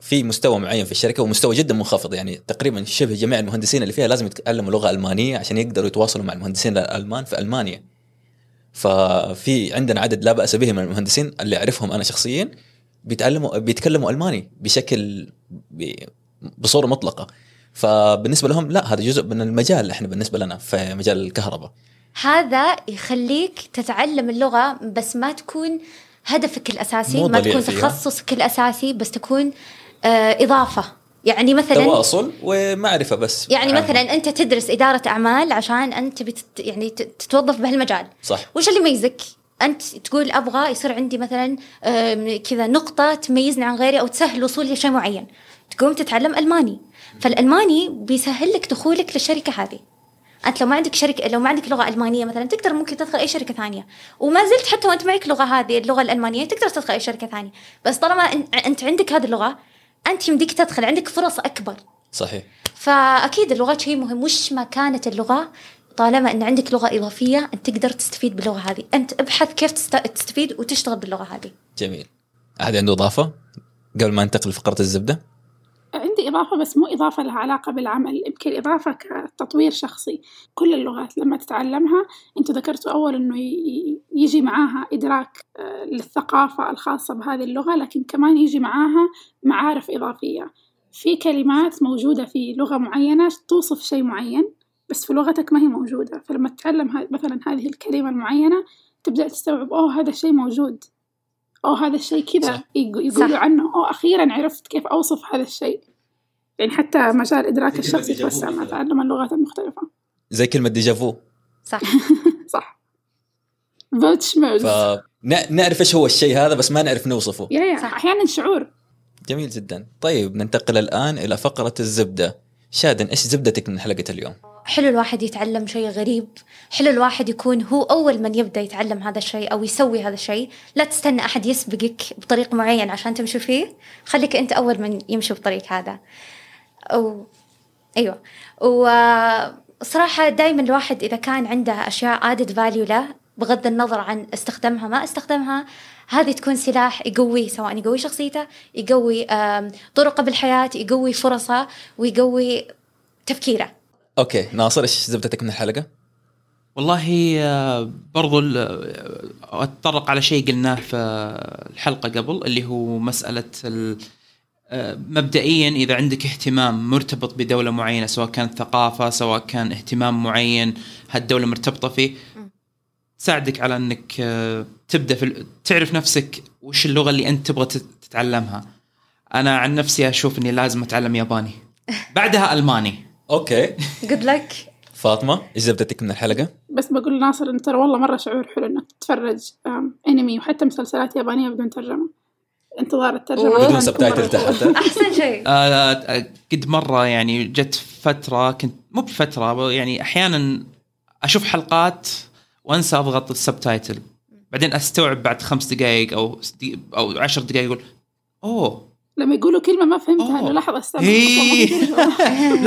[SPEAKER 1] في مستوى معين في الشركه ومستوى جدا منخفض يعني تقريبا شبه جميع المهندسين اللي فيها لازم يتعلموا لغه المانيه عشان يقدروا يتواصلوا مع المهندسين الالمان في المانيا ففي عندنا عدد لا باس به من المهندسين اللي اعرفهم انا شخصيا بيتعلموا بيتكلموا الماني بشكل ب- بصوره مطلقه فبالنسبه لهم لا هذا جزء من المجال احنا بالنسبه لنا في مجال الكهرباء
[SPEAKER 3] هذا يخليك تتعلم اللغه بس ما تكون هدفك الاساسي
[SPEAKER 1] مو
[SPEAKER 3] ما
[SPEAKER 1] ضليع
[SPEAKER 3] تكون
[SPEAKER 1] فيها.
[SPEAKER 3] تخصصك الاساسي بس تكون آه اضافه يعني مثلا
[SPEAKER 1] تواصل ومعرفه بس
[SPEAKER 3] يعني
[SPEAKER 1] عامة.
[SPEAKER 3] مثلا انت تدرس اداره اعمال عشان انت تبي تت- يعني ت- تتوظف بهالمجال
[SPEAKER 1] صح
[SPEAKER 3] وش اللي يميزك؟ انت تقول ابغى يصير عندي مثلا آم، كذا نقطه تميزني عن غيري او تسهل وصولي لشيء معين تقوم تتعلم الماني فالالماني بيسهل لك دخولك للشركه هذه انت لو ما عندك شركه لو ما عندك لغه المانيه مثلا تقدر ممكن تدخل اي شركه ثانيه وما زلت حتى وانت معك لغه هذه اللغه الالمانيه تقدر تدخل اي شركه ثانيه بس طالما إن- انت عندك هذه اللغه انت يمديك تدخل عندك فرص اكبر
[SPEAKER 1] صحيح
[SPEAKER 3] فاكيد اللغات شيء مهم وش ما كانت اللغه طالما ان عندك لغه اضافيه انت تقدر تستفيد باللغه هذه انت ابحث كيف تست- تستفيد وتشتغل باللغه هذه
[SPEAKER 1] جميل احد عنده اضافه قبل ما ننتقل لفقره الزبده
[SPEAKER 4] عندي إضافة بس مو إضافة لها علاقة بالعمل يمكن إضافة كتطوير شخصي كل اللغات لما تتعلمها أنتوا ذكرتوا أول أنه ي- ي- يجي معاها إدراك آه، للثقافة الخاصة بهذه اللغة لكن كمان يجي معاها معارف إضافية في كلمات موجودة في لغة معينة توصف شيء معين بس في لغتك ما هي موجودة فلما تتعلم ه- مثلا هذه الكلمة المعينة تبدأ تستوعب أوه هذا الشيء موجود أو هذا الشيء كذا
[SPEAKER 1] صح.
[SPEAKER 4] يق- يقولوا
[SPEAKER 3] صح.
[SPEAKER 4] عنه أو أخيرا عرفت كيف أوصف هذا الشيء يعني حتى مجال إدراك
[SPEAKER 1] كلمة
[SPEAKER 4] الشخص
[SPEAKER 1] ديجافو
[SPEAKER 4] يتوسع مع
[SPEAKER 1] مثلاً.
[SPEAKER 4] تعلم اللغات المختلفة
[SPEAKER 1] زي كلمه ديجافو
[SPEAKER 3] صح
[SPEAKER 4] صح فوتشمرز
[SPEAKER 1] فنعرف ايش هو الشيء هذا بس ما نعرف نوصفه
[SPEAKER 4] يا يا
[SPEAKER 3] صح.
[SPEAKER 4] أحيانا شعور
[SPEAKER 1] جميل جدا طيب ننتقل الان الى فقره الزبده شادن ايش زبدتك من حلقه اليوم
[SPEAKER 3] حلو الواحد يتعلم شيء غريب حلو الواحد يكون هو أول من يبدأ يتعلم هذا الشيء أو يسوي هذا الشيء لا تستنى أحد يسبقك بطريق معين عشان تمشي فيه خليك أنت أول من يمشي بالطريق هذا أو أيوة وصراحة دائما الواحد إذا كان عنده أشياء added value له بغض النظر عن استخدامها ما استخدامها هذه تكون سلاح يقويه سواء يقوي شخصيته يقوي آم، طرقه بالحياة يقوي فرصه ويقوي تفكيره
[SPEAKER 1] اوكي ناصر ايش زبدتك من الحلقه
[SPEAKER 2] والله آه، برضو ال- آه، اتطرق على شيء قلناه في الحلقه قبل اللي هو مساله ال- آه، مبدئيا اذا عندك اهتمام مرتبط بدوله معينه سواء كان ثقافه سواء كان اهتمام معين هالدوله مرتبطه فيه تساعدك على انك آه، تبدا في ال- تعرف نفسك وش اللغه اللي انت تبغى تت- تتعلمها انا عن نفسي اشوف اني لازم اتعلم ياباني بعدها الماني
[SPEAKER 1] اوكي
[SPEAKER 3] جود لك
[SPEAKER 1] فاطمه ايش زبدتك من الحلقه
[SPEAKER 4] بس بقول لناصر إن ترى والله مرة شعور حلو إنك تتفرج آم، أنمي وحتى مسلسلات يابانية بدون ترجمة انتظار الترجمة
[SPEAKER 3] بدون
[SPEAKER 4] أحياناً
[SPEAKER 1] بدون
[SPEAKER 4] يكون مرة
[SPEAKER 1] سبتايتل
[SPEAKER 4] حلو.
[SPEAKER 1] تحت
[SPEAKER 3] احسن شيء
[SPEAKER 2] آه، آه، قد مره يعني جت فتره كنت مو بفتره يعني احيانا اشوف حلقات وانسى اضغط السبتايتل بعدين استوعب بعد خمس دقائق او س- دي- او عشر دقائق اقول اوه
[SPEAKER 4] لما يقولوا كلمة ما فهمتها
[SPEAKER 2] أوه.
[SPEAKER 4] للحظة استنى
[SPEAKER 2] هي.
[SPEAKER 4] أصلاً ما أدري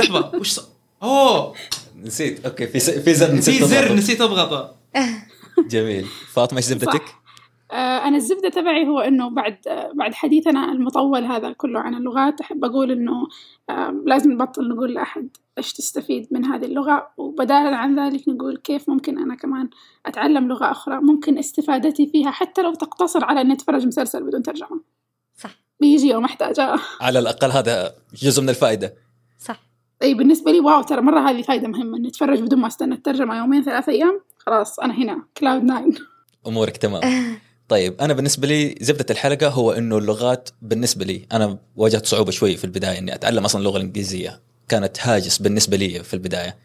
[SPEAKER 2] (laughs)
[SPEAKER 4] شو.
[SPEAKER 2] لحظه إيه." وش صار؟ اوه
[SPEAKER 1] نسيت اوكي في س- في زر نسيت
[SPEAKER 2] في زر
[SPEAKER 1] تضغطه.
[SPEAKER 2] نسيت اضغطه
[SPEAKER 1] جميل فاطمه ايش زبدتك
[SPEAKER 4] صح. آه، أنا الزبدة تبعي هو إنه بعد آه، بعد حديثنا المطول هذا كله عن اللغات أحب أقول إنه آه، لازم نبطل نقول لأحد إيش تستفيد من هذه اللغة وبدالا عن ذلك نقول كيف ممكن أنا كمان أتعلم لغة أخرى ممكن استفادتي فيها حتى لو تقتصر على إني أتفرج مسلسل بدون ترجمة
[SPEAKER 3] صح
[SPEAKER 4] بيجي يوم أحتاجها (laughs)
[SPEAKER 1] على الاقل هذا جزء من الفائده
[SPEAKER 3] صح
[SPEAKER 4] اي بالنسبه لي واو ترى مره هذه فايده مهمه اني اتفرج بدون ما استنى الترجمه يومين ثلاثة ايام خلاص انا هنا كلاود (laughs) ناين
[SPEAKER 1] امورك تمام طيب انا بالنسبه لي زبده الحلقه هو انه اللغات بالنسبه لي انا واجهت صعوبه شوي في البدايه اني اتعلم اصلا اللغه الانجليزيه كانت هاجس بالنسبه لي في البدايه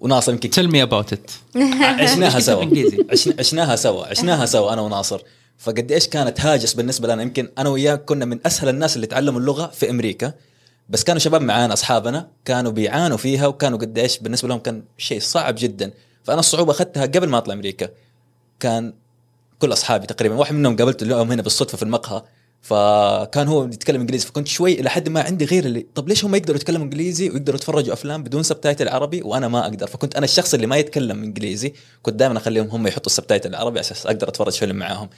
[SPEAKER 1] وناصر يمكن
[SPEAKER 2] تيل مي اباوت (laughs) ات
[SPEAKER 1] عشناها
[SPEAKER 2] إيش
[SPEAKER 1] سوا
[SPEAKER 2] بالإنجليزي؟
[SPEAKER 1] عشنا- عشناها سوا عشناها سوا انا وناصر فقد ايش كانت هاجس بالنسبه لنا يمكن انا وياه كنا من اسهل الناس اللي تعلموا اللغه في امريكا بس كانوا شباب معانا اصحابنا كانوا بيعانوا فيها وكانوا قد ايش بالنسبه لهم كان شيء صعب جدا فانا الصعوبه اخذتها قبل ما اطلع امريكا كان كل اصحابي تقريبا واحد منهم قابلته اليوم هنا بالصدفه في المقهى فكان هو يتكلم انجليزي فكنت شوي الى حد ما عندي غير اللي طب ليش هم يقدروا يتكلموا انجليزي ويقدروا يتفرجوا افلام بدون سبتايتل عربي وانا ما اقدر فكنت انا الشخص اللي ما يتكلم انجليزي كنت دائما اخليهم هم يحطوا السبتايتل العربي عشان اقدر اتفرج فيلم معاهم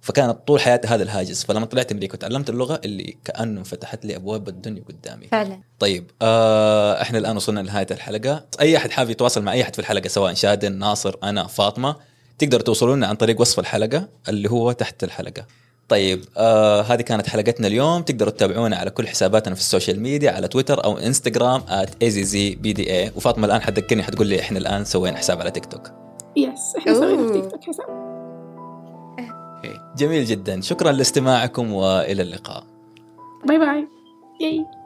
[SPEAKER 1] فكانت طول حياتي هذا الهاجس فلما طلعت امريكا وتعلمت اللغه اللي كانه فتحت لي ابواب الدنيا قدامي
[SPEAKER 3] فعلا
[SPEAKER 1] طيب آه احنا الان وصلنا لنهايه الحلقه اي احد حابب يتواصل مع اي احد في الحلقه سواء شادن ناصر انا فاطمه تقدر توصلوا لنا عن طريق وصف الحلقه اللي هو تحت الحلقه طيب آه هذه كانت حلقتنا اليوم تقدروا تتابعونا على كل حساباتنا في السوشيال ميديا على تويتر او انستغرام @azzbda وفاطمه الان حتذكرني حتقول لي احنا الان سوينا حساب على تيك توك
[SPEAKER 4] يس احنا سوينا في
[SPEAKER 3] أوه.
[SPEAKER 4] تيك توك حساب
[SPEAKER 1] جميل جدا شكرا لاستماعكم والى اللقاء
[SPEAKER 4] باي باي ياي